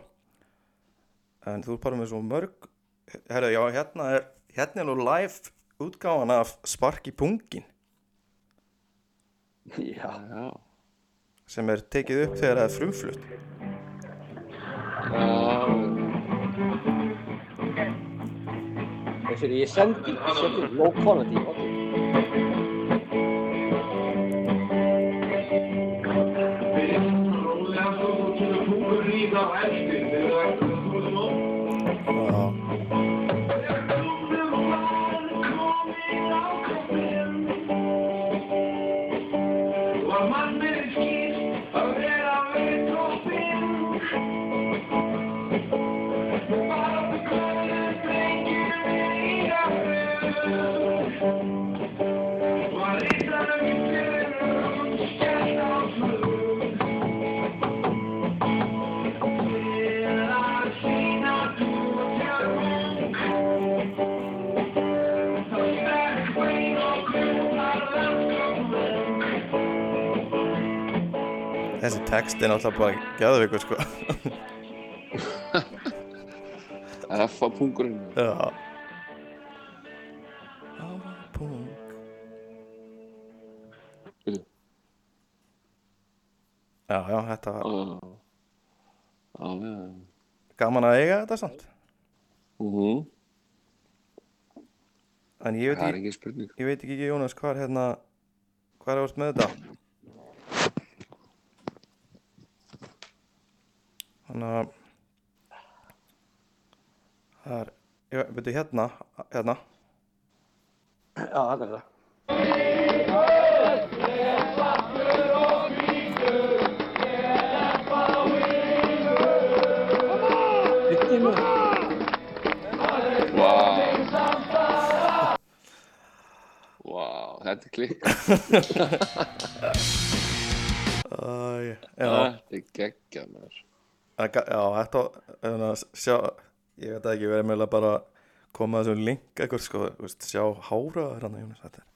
S1: En þú er bara með svo mörg, herru, já, hérna er, hérna er nú live útgáfan af Spark í pungin
S3: Já,
S2: já.
S1: sem er tekið upp þegar það er frumflutt.
S2: já.
S3: þess að ég sendi, ég sendi low quality botlið.
S1: Já.
S5: Yeah.
S1: Þessi text er náttúrulega bara gæðveikur sko. <laughs>
S2: F á pungurinn.
S1: Já. Ápung. Já, já, þetta var
S2: Já, já.
S1: gaman að eiga þetta samt.
S2: Mhm.
S1: En ég veit
S2: Það er
S1: ekki,
S2: ekki spurning.
S1: ég veit ekki Jónas, hvað er hérna, hvað er átt með þetta? Þannig að, það er, ég veit, veitu, hérna, hérna,
S3: Já, þetta er það. Byggði með þetta.
S2: Vá. Vá, þetta er klikk.
S1: Æ, já.
S2: Þetta er geggjað maður.
S1: Það ga- Já, þetta þannig að sjá, ég veit það ekki, við erum eiginlega bara að koma að þessum link eitthvað, sko, þú veist, sjá hára hérna, Jónas, þetta er.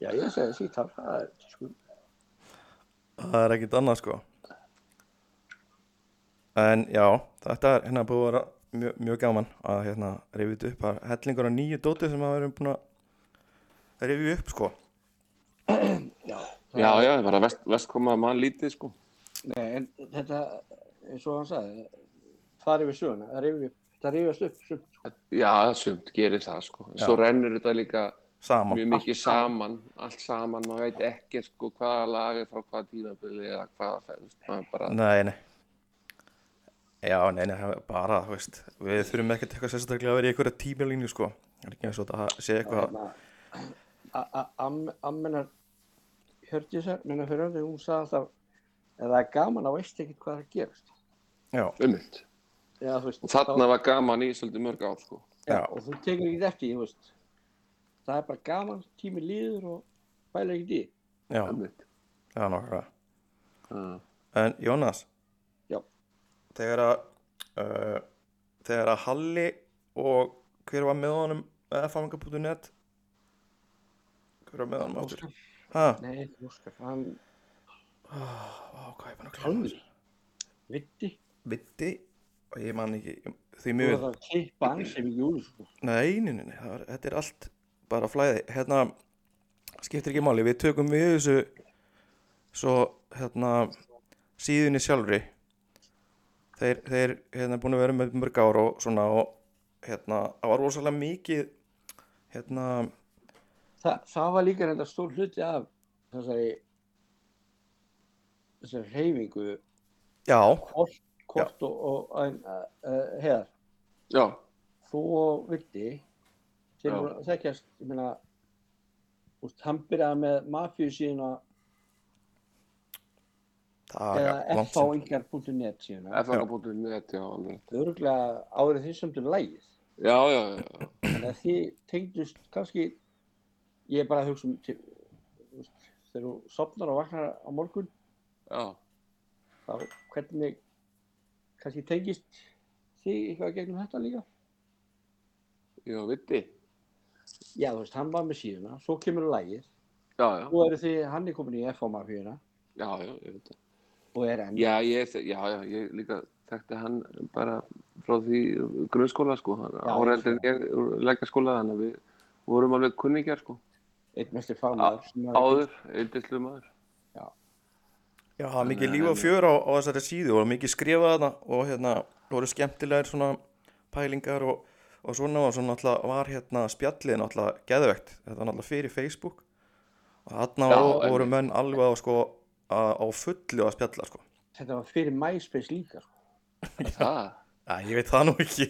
S3: Já, ég segi sítar. Það er sko.
S1: Það er ekkit annað, sko. En já, þetta er hérna búið að vera mjög, mjög gaman að hérna rifja þetta upp, það er hellingur af nýju dóti sem að við erum búin að rifja upp, sko.
S3: Já.
S2: Já, já, það var að vest, vest koma að mann lítið, sko.
S3: Nei, en þetta, eins og hann sagði, farið við söguna. Það rifið, það rifast upp sumt. sko.
S2: Já, sumt gerir það, sko. En Svo rennur þetta líka
S1: Saman.
S2: mjög mikið saman, allt saman. Maður veit ekki, sko, hvaða lag er frá hvaða tímabili eða hvaða fæðust. Maður bara,
S1: Nei, nei. Já, nei, nei, það er bara, þú veist, við þurfum ekkert eitthvað sérstaklega að vera í einhverja tímalínu, sko. Það er ekki eins og þetta sé eitthvað
S3: Þarna, a- a- am- Ammenar Hjördísar, minna fyrir öðru, hún sagði alltaf, ef það er gaman, þá veist ekki hvað það gerist.
S1: Já,
S2: umhund.
S3: Já, þú
S2: Um
S3: veist,
S2: Og
S3: þá-
S2: þarna var gaman í svolítið mörg ár, sko.
S1: Já.
S3: Já, og þú tekur ekkert eftir, því, þú veist. Það er bara gaman, tími líður og bæla ekkert í.
S1: já,
S2: Umhund.
S1: það er nokkra.
S2: Uh,
S1: En Jónas,
S3: Já.
S1: þegar að, uh, þegar að Halli og hver var með honum eða fangapunktur.net hver var með honum áttur? Hæ?
S3: Nei, ekki Óskar, hann
S1: Vá, hvað ég bara
S3: Kalli, vitti,
S1: Vitti, og ég man ekki, því
S3: þú
S1: mjög,
S3: var það að klippa hann sem ekki úr, sko.
S1: nei, nei, nei, nei, það er, þetta er allt bara flæði. Hérna, skiptir ekki máli, við tökum við þessu svo, hérna, síðunni sjálfri þeir, þeir hérna búin að vera með mörg ár og svona og hérna, það var rosalega mikið hérna,
S3: Þa, það var líka reynda stór hluti af þessari, þessari hreyfingu,
S1: já
S3: hvort, hvort og, og en, uh, uh, heiðar,
S2: já,
S3: þú og vitti, þeir
S2: Já.
S3: eru að þekkjast, ég meina, úst, hann byrjaði með mafíu síðan að
S1: það er
S3: eða
S1: Ah, langt síðan.
S3: fáingar.net síðan
S2: FNK.net, já, alveg.
S3: öruglega árið því sem til lægið
S2: Já, já, já, já.
S3: þannig að því tengdust kannski ég er bara að hugsa um til, þú veist, þegar þú sopnar og vaknar á morgun
S2: já.
S3: þá hvernig kannski tengist því eitthvað gegnum þetta líka
S2: Já, viti.
S3: já þú veist, hann var með síðuna, svo kemur lægið
S2: Já, já,
S3: og eru því, hann er komin í FH mafíuna
S2: já, já, ég veit það.
S3: og er enn
S2: Já, ég, þe- já, já, ég líka þekkti hann bara frá því grunnskóla, sko, hann
S3: Já,
S2: áreildir ég leggja skóla, þannig að við vorum alveg kunningjar, sko,
S3: einn mestir fagmaður sem að-
S2: áður, eildislu maður.
S1: já, það var mikið líf og fjör á, á þessari síðu og mikið skrifað þarna og hérna, voru skemmtilegar svona pælingar og, og svona og svona alltaf var hérna spjallið náttúrulega geðvegt, þetta var náttúrulega fyrir Facebook og þarna
S2: Já,
S1: voru,
S2: en-
S1: voru menn alveg á sko að, á fullu að spjalla sko
S3: þetta var fyrir MySpace líka sko.
S2: Það,
S1: Æ, ég veit það nú ekki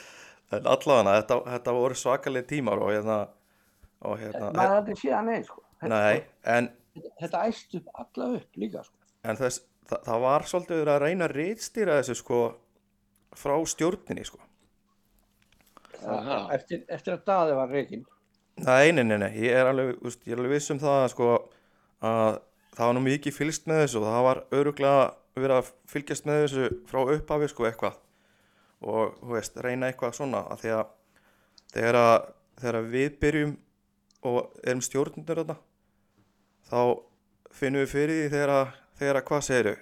S1: <laughs> en allavega þetta, þetta voru svakalega tímar og hérna og hérna
S3: maður aldrei séð hann einn sko. þetta,
S1: nei, en,
S3: þetta æst upp alla upp líka sko.
S1: en þess, það, það var svolítið verið að reyna að reyðstýra þessu sko frá stjórninni sko
S2: Aha.
S3: eftir, eftir að daði var reygin
S1: nei, nei, nei, nei, ég er alveg, úst, ég er alveg viss um það sko að það var nú mikið fylgst með þessu og það var öruglega verið að fylgjast með þessu frá upphafi sko eitthvað og þú veist, reyna eitthvað svona að því að þegar, að, þegar að við byrjum og erum stjórnundur þarna þá finnum við fyrir því þegar að, þegar að hvað segiru?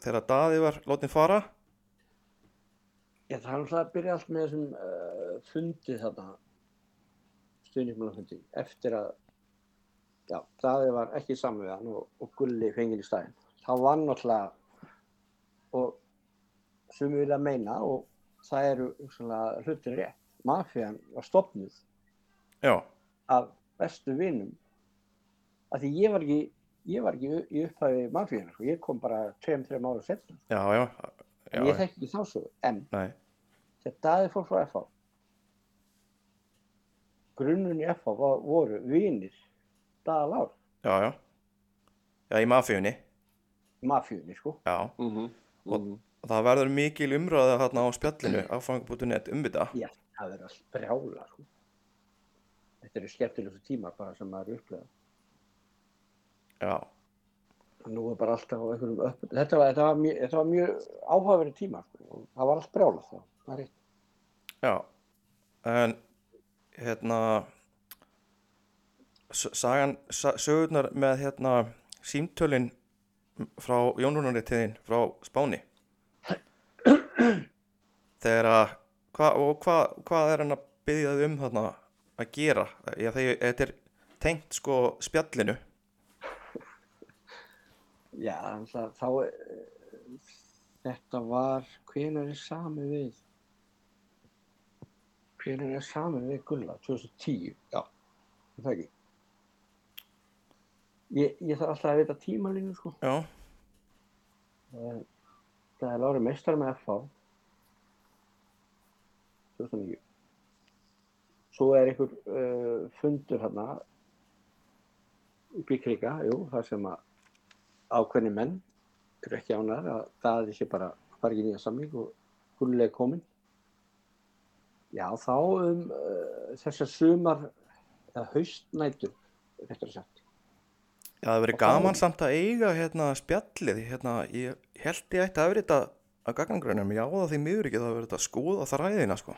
S1: Þegar að Daði var látin fara?
S3: Ég þarf alltaf að byrja allt með þessum uh, fundi þarna, stuðnismannafundi, eftir að, já, Daði var ekki saman við hann og, og Gulli fengið í staðinn. Það var náttúrulega, og sem við vilja meina, og það eru svona hlutin rétt. Mafían var stopnuð
S1: Já,
S3: af bestu vinum, af því ég var ekki, ég var ekki í upphæði mafían, sko, ég kom bara 2-3 ára setna.
S1: já, já. já
S3: Ég þekki ekki þá svo, en
S1: Nei,
S3: þegar Daði fór frá FH grunnun í FH var, voru vinir Daða Lár,
S1: já, já. Já, í mafíunni,
S3: mafjunni sko
S1: já.
S2: Mhm, mhm.
S1: Og það verður mikil umræða hérna á spjallinu á fangbútu.net um þetta.
S3: já, það verður að brjála sko þetta eru skemmtilegustu tímar bara sem maður upplega
S1: Já,
S3: og nú er bara alltaf á einhverjum upp þetta var, þetta var, mjög, þetta var mjög áhugaverið tíma sko. og það var allt brjála þá það er rétt.
S1: já. En, hérna, s- sagan, sa- sögurnar með, hérna, símtölin frá Jónrúnarritiðin frá Spáni. Þegar að, hva, og hvað hva er hann að byggja þið um þarna að gera? Já, þegar þetta er tengt sko spjallinu.
S3: já, þannig að þá eh, þetta var hvenær er sami við hvenær er sami við Gulla 2010 já, Er það ekki ég, ég þarf alltaf að vita tímalínu sko
S1: Já,
S3: Eh, það er Lári meistar með FH 2009 svo er einhver uh, fundur hérna upp í kriga, jú, þar sem að ákveðni menn eru ekki ánæðar að það er ekki bara fara ekki í nýja samling og gullulega komin já, þá um uh, þessar sumar eða haustnætur réttur að sagt
S1: já það verið
S3: Og þá-
S1: gaman samt að eiga hérna spjallið. Hérna, ég held ég ætti að vera þetta að gagnangrænum. Já, það því miður ekki það verið þetta að skoða þræðina sko.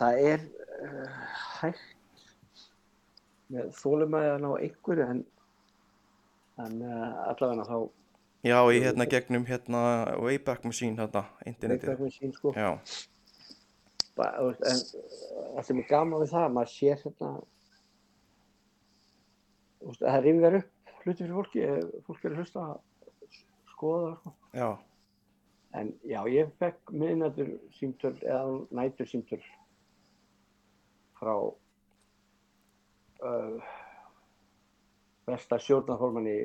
S3: það er uh, hægt með þólumæðan á einhverju en, en uh, allavega þá
S1: Já, í hérna gegnum hérna Wayback Machine hérna, internetið.
S3: neittakvinn sín sko
S1: Já,
S3: Ba- þú veist, en það sem er gaman við það maður sér þetta veist, það rifjar upp hluti fyrir fólki ef fólk er að hlusta að skoða það sko.
S1: já,
S3: en já, ég fekk miðnættur símtöl eða nættur símtöl frá uh, besta stjórnarforman í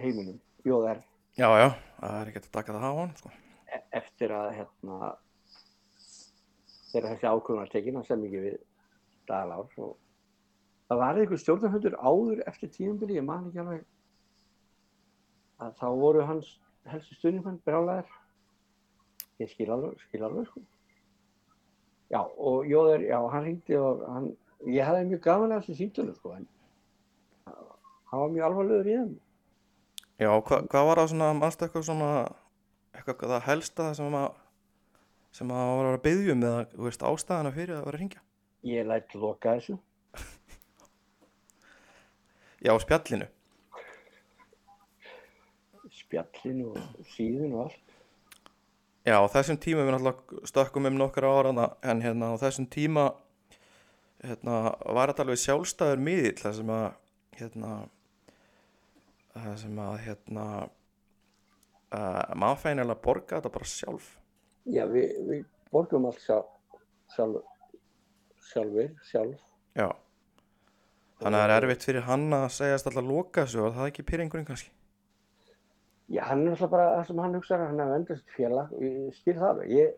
S3: heiminum, Jóðar
S1: já, já, það er ekkert að taka það á hann sko.
S3: eftir að hérna þegar þessi ákvörðunar tekin hann sem ekki við Dalár og það var einhver stjórnarfundur áður eftir tíðumbili, ég man ekki alveg að þá voru hans helstu stundinfann brjálæðir ég skil alveg, skil alveg sko já og Jóður, já hann hringdi og hann, ég hafði mjög gaman að þessi símtölu sko en hann var mjög alvarlegur í þeim
S1: Já, hva, hvað var það svona, mannstu eitthvað svona, eitthvað það helsta sem að, sem að var að byggja um eða, þú veist, ástæðana fyrir að vera að ringja?
S3: ég læt loka þessu
S1: Já, spjallinu.
S3: spjallin og síðin og allt
S1: Já, á þessum tíma við náttúrulega stökkum um nokkra ára en hérna á þessum tíma hérna, var þetta alveg sjálfstæður miðill þar sem að hérna þar sem að hérna uh, maður fæði nefnilega að borga þetta bara sjálf
S3: Já, við, við borgum allt sjálf, sjálf, sjálfur, sjálf.
S1: Já Þannig að það er erfitt fyrir hann að segjast alltaf loka þessu var það ekki pyrringurinn kannski
S3: Já, hann er alltaf bara það sem hann hugsaði, hann er að venda sitt félag, ég skil það alveg. Ég,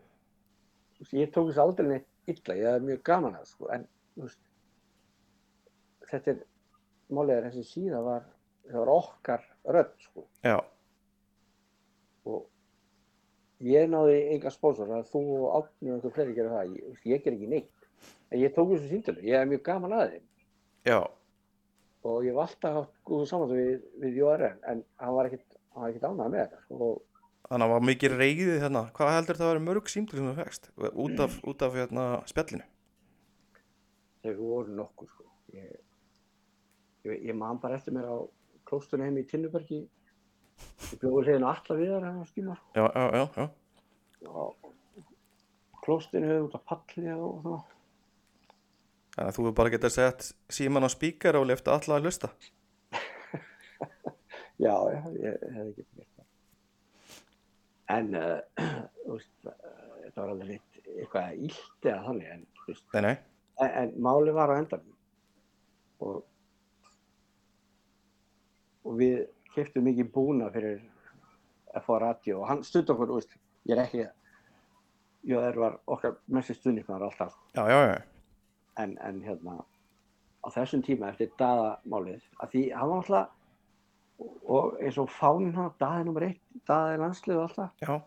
S3: þú veist, ég tók þessu aldrei neitt illa, ég er mjög gaman að það, sko, en þú veist, þetta er, málið er þessi síða var, það var okkar rödd, sko,
S1: Já,
S3: og ég náði enga sponsor, það er þú og Átni og einhver fleiri gerir það, ég, þú veist, ég ger ekki neitt. En ég tók þessu síndilu, ég er mjög gaman að þeim.
S1: já,
S3: og ég hef alltaf haft góðu samvættu við, við JRN en hann var ekkit, hann var ekkit ánægð með þetta sko. og
S1: þannig að var mikið reyðið hérna Hvað heldur það að vera mörg símtölu sem það fegst út af, út af hérna spjallinu
S3: þau voru nokkuð sko. ég, ég, ég man bara eftir mér á klóstunni heim í Tinnubergi ég bjóði hliðin alla við þar hennar skíma
S1: já, já, já, já.
S3: klóstunni höfðu út af palli og það
S1: Þannig að þú hefur bara getað sett síman á spíkar og lefta alla að hlusta.
S3: Já, já, ég hefði ekki gert það. En, uh, <clears throat> þú veist, uh, þetta var aldrei neitt eitthvað ílt eða þannig, en, þú veist,
S1: Nei, nei,
S3: en, en máli var á endanum. Og, og við keftum mikið búna fyrir FH Radio og hann stutt okkur, þú veist, ég er ekki, jú, þær var okkar messi stuðnismar alltaf,
S1: já, já, já,
S3: en, en hérna á þessum tíma eftir daðamálið að því hann var alltaf og eins og fánin hann, daði nummer eitt daði landslið og alltaf
S1: já,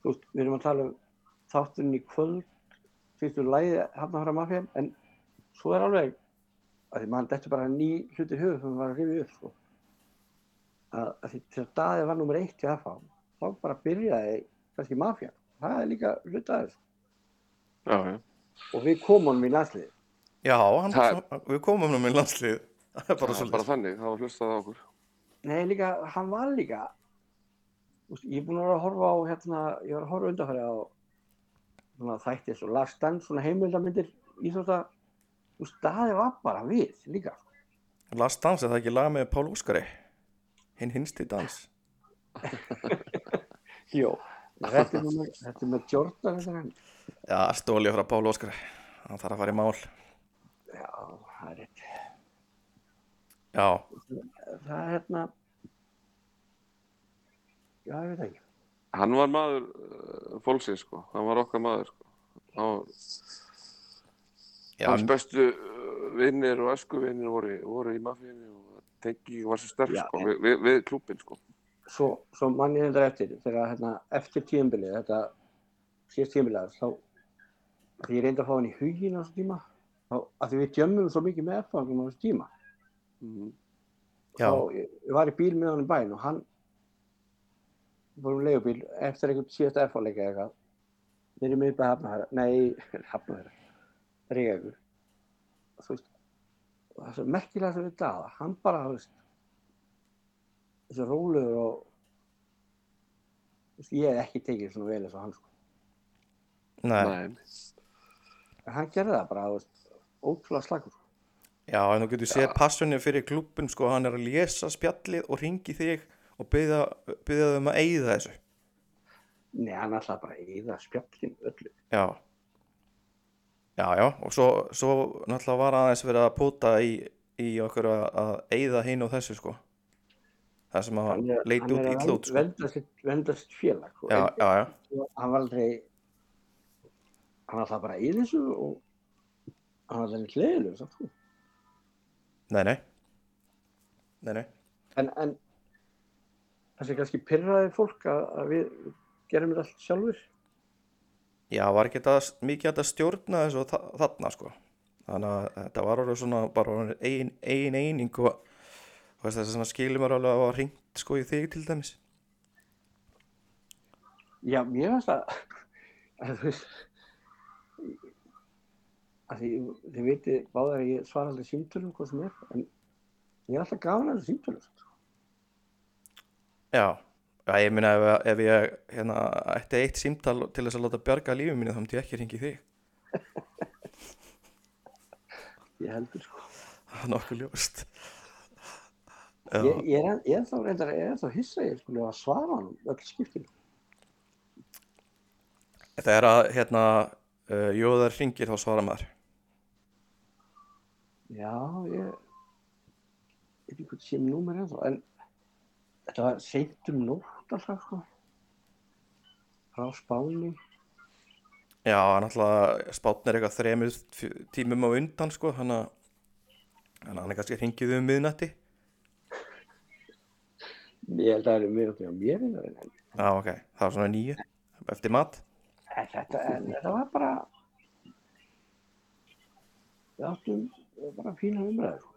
S3: Þú veist, við erum að tala um þátturinn í kvöld fyrstu lægi hann að fara mafja en svo er alveg að því mann þetta bara ný hluti í höfu sem var að rifja upp sko. að, að því til að daði var nummer eitt í aðfá þá bara byrjaði kannski mafja það er líka hlutaðið
S2: já, já.
S3: og við komum honum í landslið
S1: já, hann,
S2: Það-
S1: svo, við komum nú með landslið, <laughs> það er
S2: Bara,
S1: bara
S2: það var
S1: svolítið.
S2: bara þannig, það var hlustað á okkur.
S3: Nei, líka, hann var líka úst, ég er búinn að vera að horfa á hérna, ég var að horfa undanfæri á svona þætti eins og Lars Stenn svona heimildamindir í þótt að úst, daði var bara við líka sko.
S1: Last Dance, er það ekki lag með Pál Óskari? Hinn hinsti dans.
S3: Jó, þetta er nú með, þetta er með Jordan þetta er hann
S1: Já, stóli frá Pál Óskari. Hann þarf að fara í mál.
S3: Já, það er rétt
S1: Já,
S3: Það er hérna Já, ég veit ekki
S2: Hann var maður uh, fólksins, sko. Hann var okkar maður, sko. Hann var,
S1: já,
S2: hans bestu uh, vinnir og eskuvinnir voru, voru í mafíunni og tengi var svo sterk,
S3: Já,
S2: sko,
S3: en-
S2: við, við, við klúbin, sko.
S3: Svo, svo mann ég þetta eftir þegar hérna, eftir tíðanbilið þetta síðast tíðanbilið þá því ég reyndi að fá hann í hugin á þessum tíma þá, að því við djömmum svo mikið með erfangum á þessum tíma
S2: Mm.
S1: já,
S3: þá ég, ég var í bíl með hann í bæn og hann við vorum leigubíl eftir einhvern síðasta erfanleika eitthvað þeir eru miðbæð hafnahæra nei, hafnahæra reyðagur þú veist og það er svo merkilega sem við daða hann bara, þú veist þessi rólegur og þú veist, ég hef ekki tekið svona vel eins og hann sko
S1: nei,
S2: Nei.
S3: en hann gerði það bara, þú veist ótrúlega slagur sko.
S1: já, en þú getur séð passunni fyrir klubun, sko, hann er að lesa spjallið og ringi þig og byrja, byrja þau um að eigða þessu.
S3: nei, hann alltaf bara eða spjallin öllu
S1: Já, já, já, og svo, svo náttúrulega var aðeins verið að póta í, í okkur að, að eigða hinn og þessu, sko. Það sem að
S3: hann er,
S1: leita út illa út, sko.
S3: vendast, vendast félag sko.
S1: Já,
S3: En-
S1: já, já.
S3: Og hann var aldrei hann var alltaf bara í þessu og hann var aldrei hliðileg sko.
S1: Nei, nei. Nei, nei.
S3: en, en þessi kannski pyrraði fólk að, að við gerum þetta allt sjálfur
S1: Já, var ekki þetta mikið hægt að stjórna þessu þa þarna, sko. Þannig að þetta var orðið svona bara orðin ein, ein eining og þú veist, þess að skilum er alveg að hafa hringt sko í þig til dæmis.
S3: já, mér finnst að <laughs> að þú veist að því, þið viti báðar að ég svara aldrei símtölum hvað sem er en ég er alltaf gafan að símtölum sko.
S1: Já, já ég meina ef, ef ég hérna, ætti eitt símtal til þess að láta bjarga lífið mínu þá myndi ég ekki hringi þig. <laughs>
S3: ég heldur sko
S1: Það er nokkuð ljóst. Já,
S3: ég, ég, er, ég er þá reyndar ég er þá hissa að ég skulle að svara hann öll skiptinu
S1: þegar að hérna, uh, jóðar hringir þá svarar maður.
S3: Já, ég ég veit ekki hvað sem númer er þá, en þetta var seint um nótt alltaf, sko. Frá Spáni.
S1: Já, náttúrulega spátn er eitthvað þremur fjö- tímum á undan, sko, hann að þannig að hann er kannski hringið um miðnætti.
S3: Ég held að það er mjög átti á mér en það, en
S1: Já, ok, það var svona nýju eftir mat.
S3: en þetta, en þetta var bara, við áttum bara fína umræður, sko.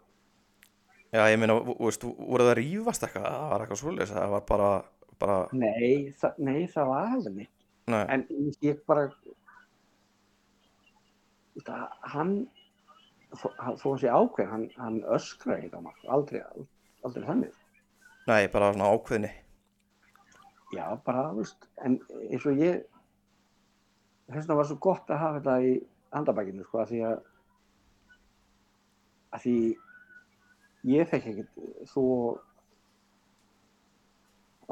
S1: Já, ég meina, þú veist, voru það að rífast eitthvað? Það var eitthvað svoleiðis, það var bara, bara,
S3: Nei, það, nei, það var heldur neitt,
S1: nei,
S3: en ég bara, það, hann, þó, hann, þó að sé ákveð, hann, hann öskraði ekki á maður, aldrei, aldrei þannig
S1: Nei, bara svona ákveðni.
S3: já, bara, þú veist, en eins og ég þess vegna var svo gott að hafa þetta í handabækinu, sko, að því að að því ég þekki ekkert þó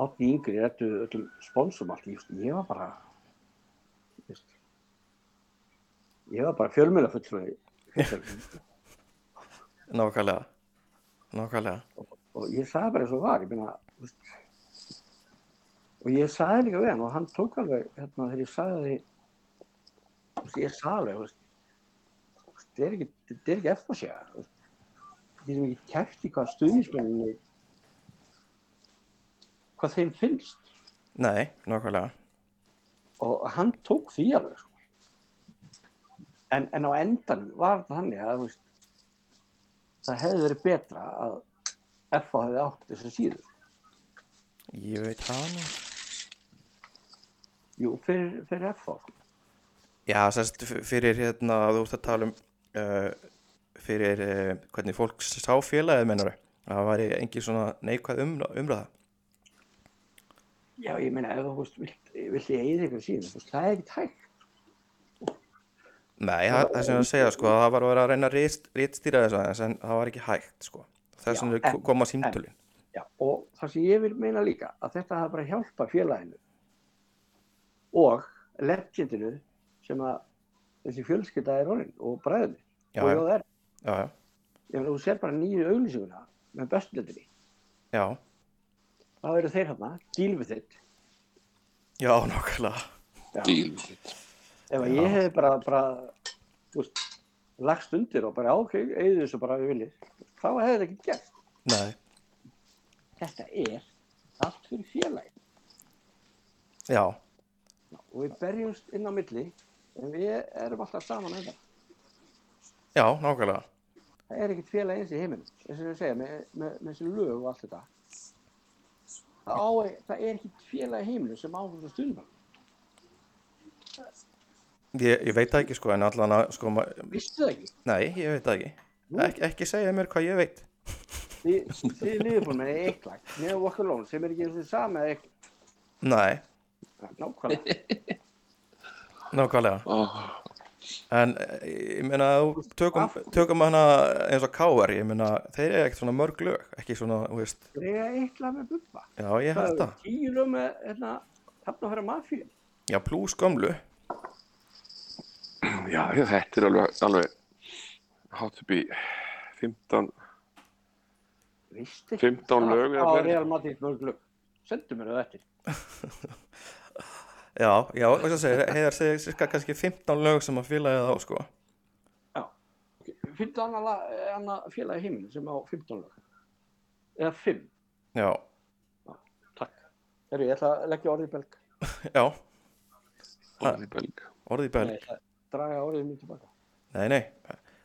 S3: átt í yngri rættu öllum sponsum allt, ég, veist, ég var bara þú veist, ég var bara fjölmjöla fulltrúi
S1: Nákvæmlega. Nákvæmlega.
S3: og ég sagði bara eins og var, ég meina þú veist, og ég sagði líka við hann og hann tók alveg hérna þegar ég sagði því þú veist, ég sagði alveg þú veist, þú veist, þetta er ekki, þetta er ekki eftir að segja þú veist. ég er ekki kæft í hvað stuðnismenninni hvað þeim finnst
S1: Nei, nákvæmlega.
S3: og hann tók því alveg sko. en, en á endanum var þetta þannig að þú veist, það hefði verið betra að FH hefði átt þessar síður
S1: Ég veit það
S3: um
S1: nú.
S3: Jú, fyrir, fyrir FH. sko.
S1: Já, sérst f- fyrir hérna, þú ert að tala um uh, fyrir uh, hvernig fólk sá félagið mennur. Það væri engin svona neikvæð um, umræða.
S3: Já, ég meina, ef þú veist, vilt, vilt ég eigið ykkur síðan, þú veist, það er ekkert hægt.
S1: Nei, það, það sem ég var að segja, sko, að það var að vera að reyna að rit- ritstýra þess aðeins, en það var ekki hægt, sko. Þess
S3: Já,
S1: vegna
S3: en-
S1: ko- koma símtölin.
S3: Já, og það sem ég vil meina líka, að þetta hafa bara hjálpa félaginu og legendinu sem að þessi fjölskylda er orðin og bræðinu
S1: Já,
S3: og
S1: já.
S3: jóð er.
S1: Já, já.
S3: Ég meina, þú sér bara nýju auglýsinguna með bestletinni.
S1: Já,
S3: Það eru þeir hérna, deal with it.
S1: já, nákvæmlega.
S3: Já,
S2: Díl við þitt.
S3: ef að
S1: Já.
S3: ég hefði bara, bara, þú veist, lagst undir og bara, "Já, ok, eigið þessu bara við viljið, þá hefði þetta ekki gert.
S1: Nei,
S3: þetta er allt fyrir félagi
S1: já,
S3: og við berjumst inn á milli en við erum alltaf saman enda.
S1: já, nákvæmlega.
S3: Það er ekkert félagi eins í heiminum, eins og við segja, með, með, með þessi lög og allt þetta. Það, á, e, það er ekkert félagi í heiminum sem áfram það stundum.
S1: Ég, ég veit það ekki, sko, en allan að, sko, ma-
S3: Vistu það ekki?
S1: nei, ég veit það ekki. Ek, ekki segja mér hvað ég veit.
S3: Þið, þið liðbúin með eitt lag, með Walk Alone, sem er ekki eins og þið sama eða eitt,
S1: Nei,
S3: nákvæmlega.
S1: nákvæmlega.
S2: Oh,
S1: En eh, ég meina, þú- tökum, tökum hana eins og káar, ég meina, þeir eru ekkert svona mörg lög, ekki svona, þú veist,
S3: Það er eitt lag með Bubba.
S1: já, ég held
S3: Það er
S1: það.
S3: tíu lög með, hérna, Hafnafæra Mafíu.
S1: Já, plús gömlu,
S2: já, já, þetta er alveg, alveg hátt upp í 15,
S3: Vistu?
S2: 15 lög eða
S3: eða
S2: fleiri.
S3: fleiri. Real Madrid mörg lög. Sendu mér það eftir.
S1: já, já, og þess að segja, heiðar segja cirka kannski 15 lög sem að félagið á, sko.
S3: Já. Finnstu annað, lag- eh, annað félag í heiminu sem á 15 lög? Eða 5?
S1: Já,
S3: Takk. Herru, ég ætla að leggja orðið í belg.
S1: já,
S2: orðið belg.
S1: orðið bæl.
S3: Nei, ég ætla að draga orðið mjög tilbaka.
S1: Nei, nei,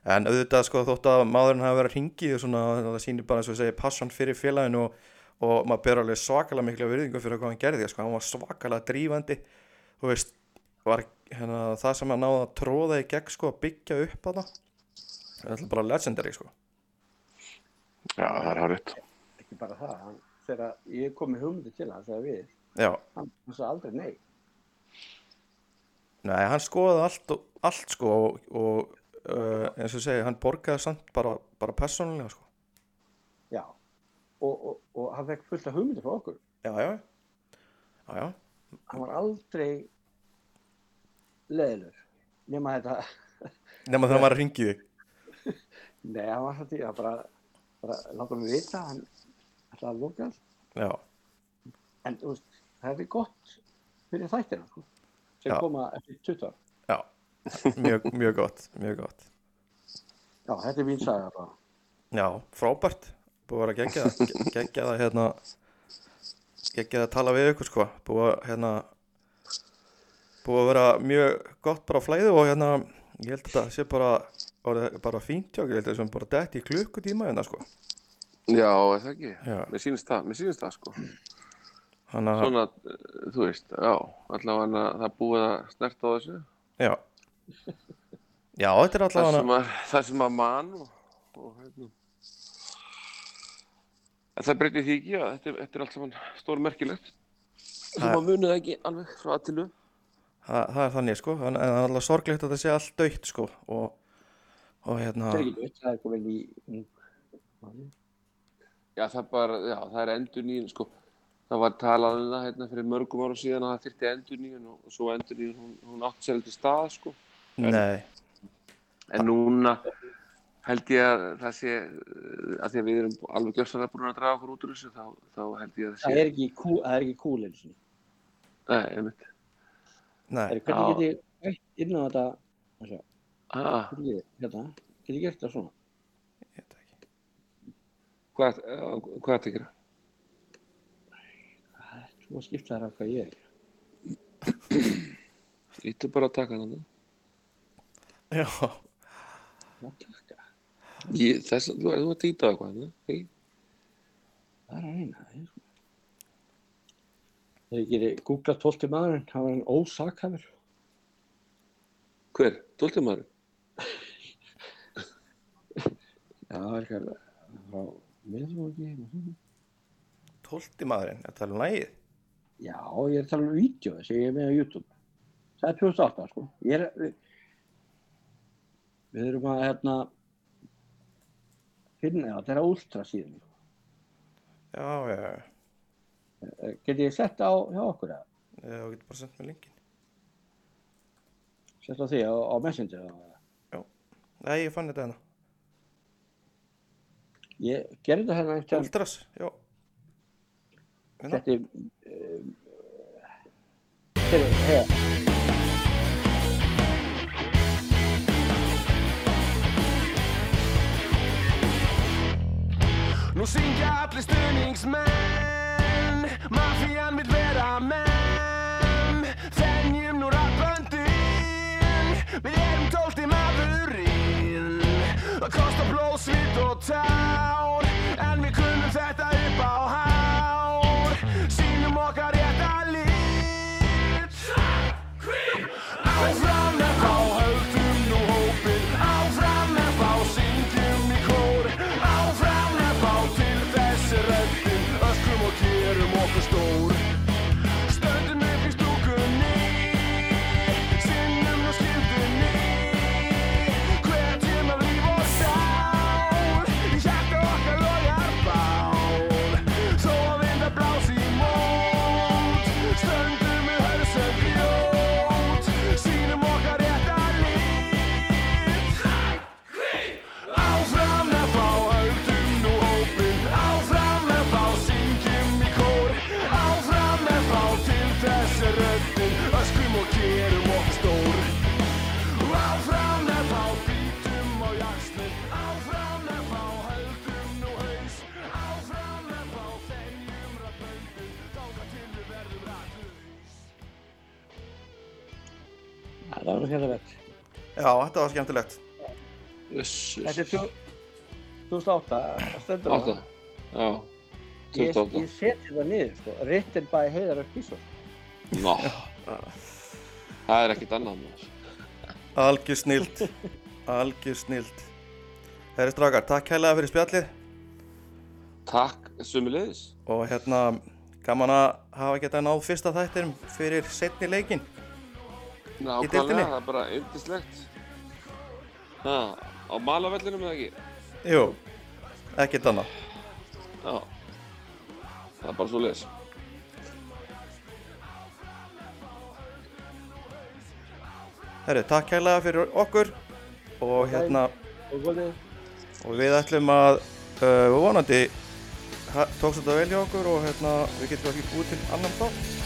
S1: en auðvitað sko þótt að maðurinn hafi verið að ringi og svona, það sýnir bara eins og segja passion fyrir félaginu og, og maður ber alveg svakalega mikla virðingu fyrir hvað hann gerði, sko, hann var svakalega drífandi, þú veist, var hérna, það sem hann náði að tróða í gegn sko að byggja upp að það, það er alltaf bara legendary sko.
S2: Já, það er hárið.
S3: Ekki bara það. Hann, þegar ég kom með hugmyndi til hann, þegar við,
S1: Já,
S3: hann hann sagði aldrei nei.
S1: nei, hann skoðaði allt, og- allt sko og, og uh, eins og segja, hann borgaði samt bara, bara persónulega sko.
S3: Já. Og, og, og hann fekk fullt af hugmyndi frá okkur.
S1: Já, já, já, já,
S3: Hann var aldrei leðilur. Nema þetta, <laughs>
S1: nema þegar maður ringið þig.
S3: nei, hann var alltaf því að bara, bara láta mig vita, hann ætlaði að loka allt.
S1: Já,
S3: En þú veist, það er gott fyrir þættina, sko, sem
S1: Já.
S3: koma eftir 20 ár.
S1: já, mjög, mjög gott, mjög gott.
S3: Já, þetta er mín saga bara.
S1: Já, frábært Búið að gegja það Gegja það hérna Gegja það að tala við ykkur sko Búið að hérna Búið að vera mjög gott bara á flæðu Og hérna, ég held að þetta sé bara orðið Bara fínt hjá, okkur, ég held að þessum bara detti í klukkutíma hérna sko
S2: Já, er það ekki?
S1: Já.
S2: Mér sýnist það, mér sýnist það sko.
S1: Hanna,
S2: Svona, eh, þú veist, já, allavega það búið að snerta á þessu.
S1: já Já, þetta er
S2: Það
S1: allavega
S2: sem að, það sem að mann og, og hérna. En það breytir því ekki að þetta, er- þetta er allt saman stórmerkilegt. Þú
S1: Það-
S2: maður munið það ekki alveg frá aðtilu.
S1: Þa, það er þannig sko, en en það er alltaf sorglegt að þetta sé allt döitt sko og, og hérna,
S3: Það er ekki veit, það er komin í ung mann.
S2: Já, það, bara, já, það er endurnýjun, sko. Það var talað um það hérna fyrir mörgum árum síðan að það þyrfti endurnýjun og, og svo endurnýjun, hún, hún átti sér aldrei stað, sko.
S1: nei,
S2: En núna held ég að það sé, eh, að því að við erum alveg gjörsanlega búin að draga okkur út úr þessu, þá, þá held ég að það
S3: Það
S2: sé,
S3: er ekki kú, það er ekki kúl eins og
S2: nei, einmitt.
S1: nei,
S3: það. Hvernig
S2: Já.
S3: get ég veitt inn á þetta, að sjá,
S2: Ah,
S3: hvernig get ég, hérna, get ég gert það svona?
S1: ég veit ekki.
S2: hvað, eh, hvað er þetta að gera?
S3: Það er svo skipta þær af hvað ég er.
S2: Ítu bara að taka þannig.
S1: Já,
S3: Hvað takka?
S2: Ég, þess, þú, þú ert ít á eitthvað, ne? Hei,
S3: Það er að reyna, það er sko. Þegar ég gerir Google 12 maðurinn, það var hann ósakhafur.
S2: hver? Tóltum maður?
S3: Já, það er eitthvað frá miðfólki.
S1: tólti maðurinn, þetta er um lægið,
S3: Já, ég er að tala um vídeo sem ég er með á YouTube. Það er 2008, sko. Ég er, við, við erum að, hérna, finna, já, þetta er últra síðan. sko.
S1: já, já, já,
S3: Eh, Get ég sett á, hjá okkur eða?
S1: Eh, þú getur bara sendt mér linkin.
S3: Sett á því á, á Messenger eða?
S1: Nei, ég fann þetta hérna,
S3: Ég gerði þetta hérna einhvern
S1: Ultras, já,
S3: veginn, þetta er, eh, heyrðu, eh, heyrðu,
S5: Nú syngja allir stuðningsmenn Mafían vill vera menn Þennjum nú rappöndin Við erum tólti maðurinn Það kostar blóð, svit og tár En við kunnum þetta upp á hár Sýnum okkar rétta lit Áfram með þá höldum nú hópin Áfram með þá syngjum í kór Áfram með þá til þessi röddin Öskrum og gerum okkur stór Stöndum upp í stúkunni Sinnum og skyldunni Hvetjum af líf og sál Í hjarta okkar logar bál Þó að vinda blási í mót Stöndum við hörsa grjót Sýnum okkar rétta lit Áfram með þá höldum nú hópin Áfram með þá syngjum í kór Áfram með þá til þessi röddin Öskrum og gerum okkur stór Áfram með þá bítum á jaxlinn Áfram með þá höldum nú haus Áfram með þá þeljum röddböndin Þáka til við verðum rættuðis
S3: það var nú hérna vett.
S1: já, þetta var skemmtilegt,
S2: Össus.
S3: Þetta er tjó- 2008, það stendur á.
S2: Átta. Já,
S3: Ég,
S2: 28.
S3: ég seti það niður, sko. Written by Heiðar Ökkísson.
S2: Ná, það er ekkert annað maður.
S1: algjör <laughs> snilt, algjör snilt. Herri strákar, takk hella fyrir spjallið
S2: Takk sömulegis.
S1: og hérna, gaman að hafa getað náð fyrsta þættinum fyrir setni leikin. deildinni?
S2: Nákvæmlega, það er bara yndislegt. Ha, á malavellinum eða ekki?
S1: Jú, ekkert annað.
S2: Já. Það er bara svo leiðis.
S1: Herru, takk kærlega fyrir okkur og hérna
S3: Og góðið.
S1: og við ætlum að eh, uh, vonandi ha- tókst þetta vel hjá okkur og hérna við getum ekki búið til annan þátt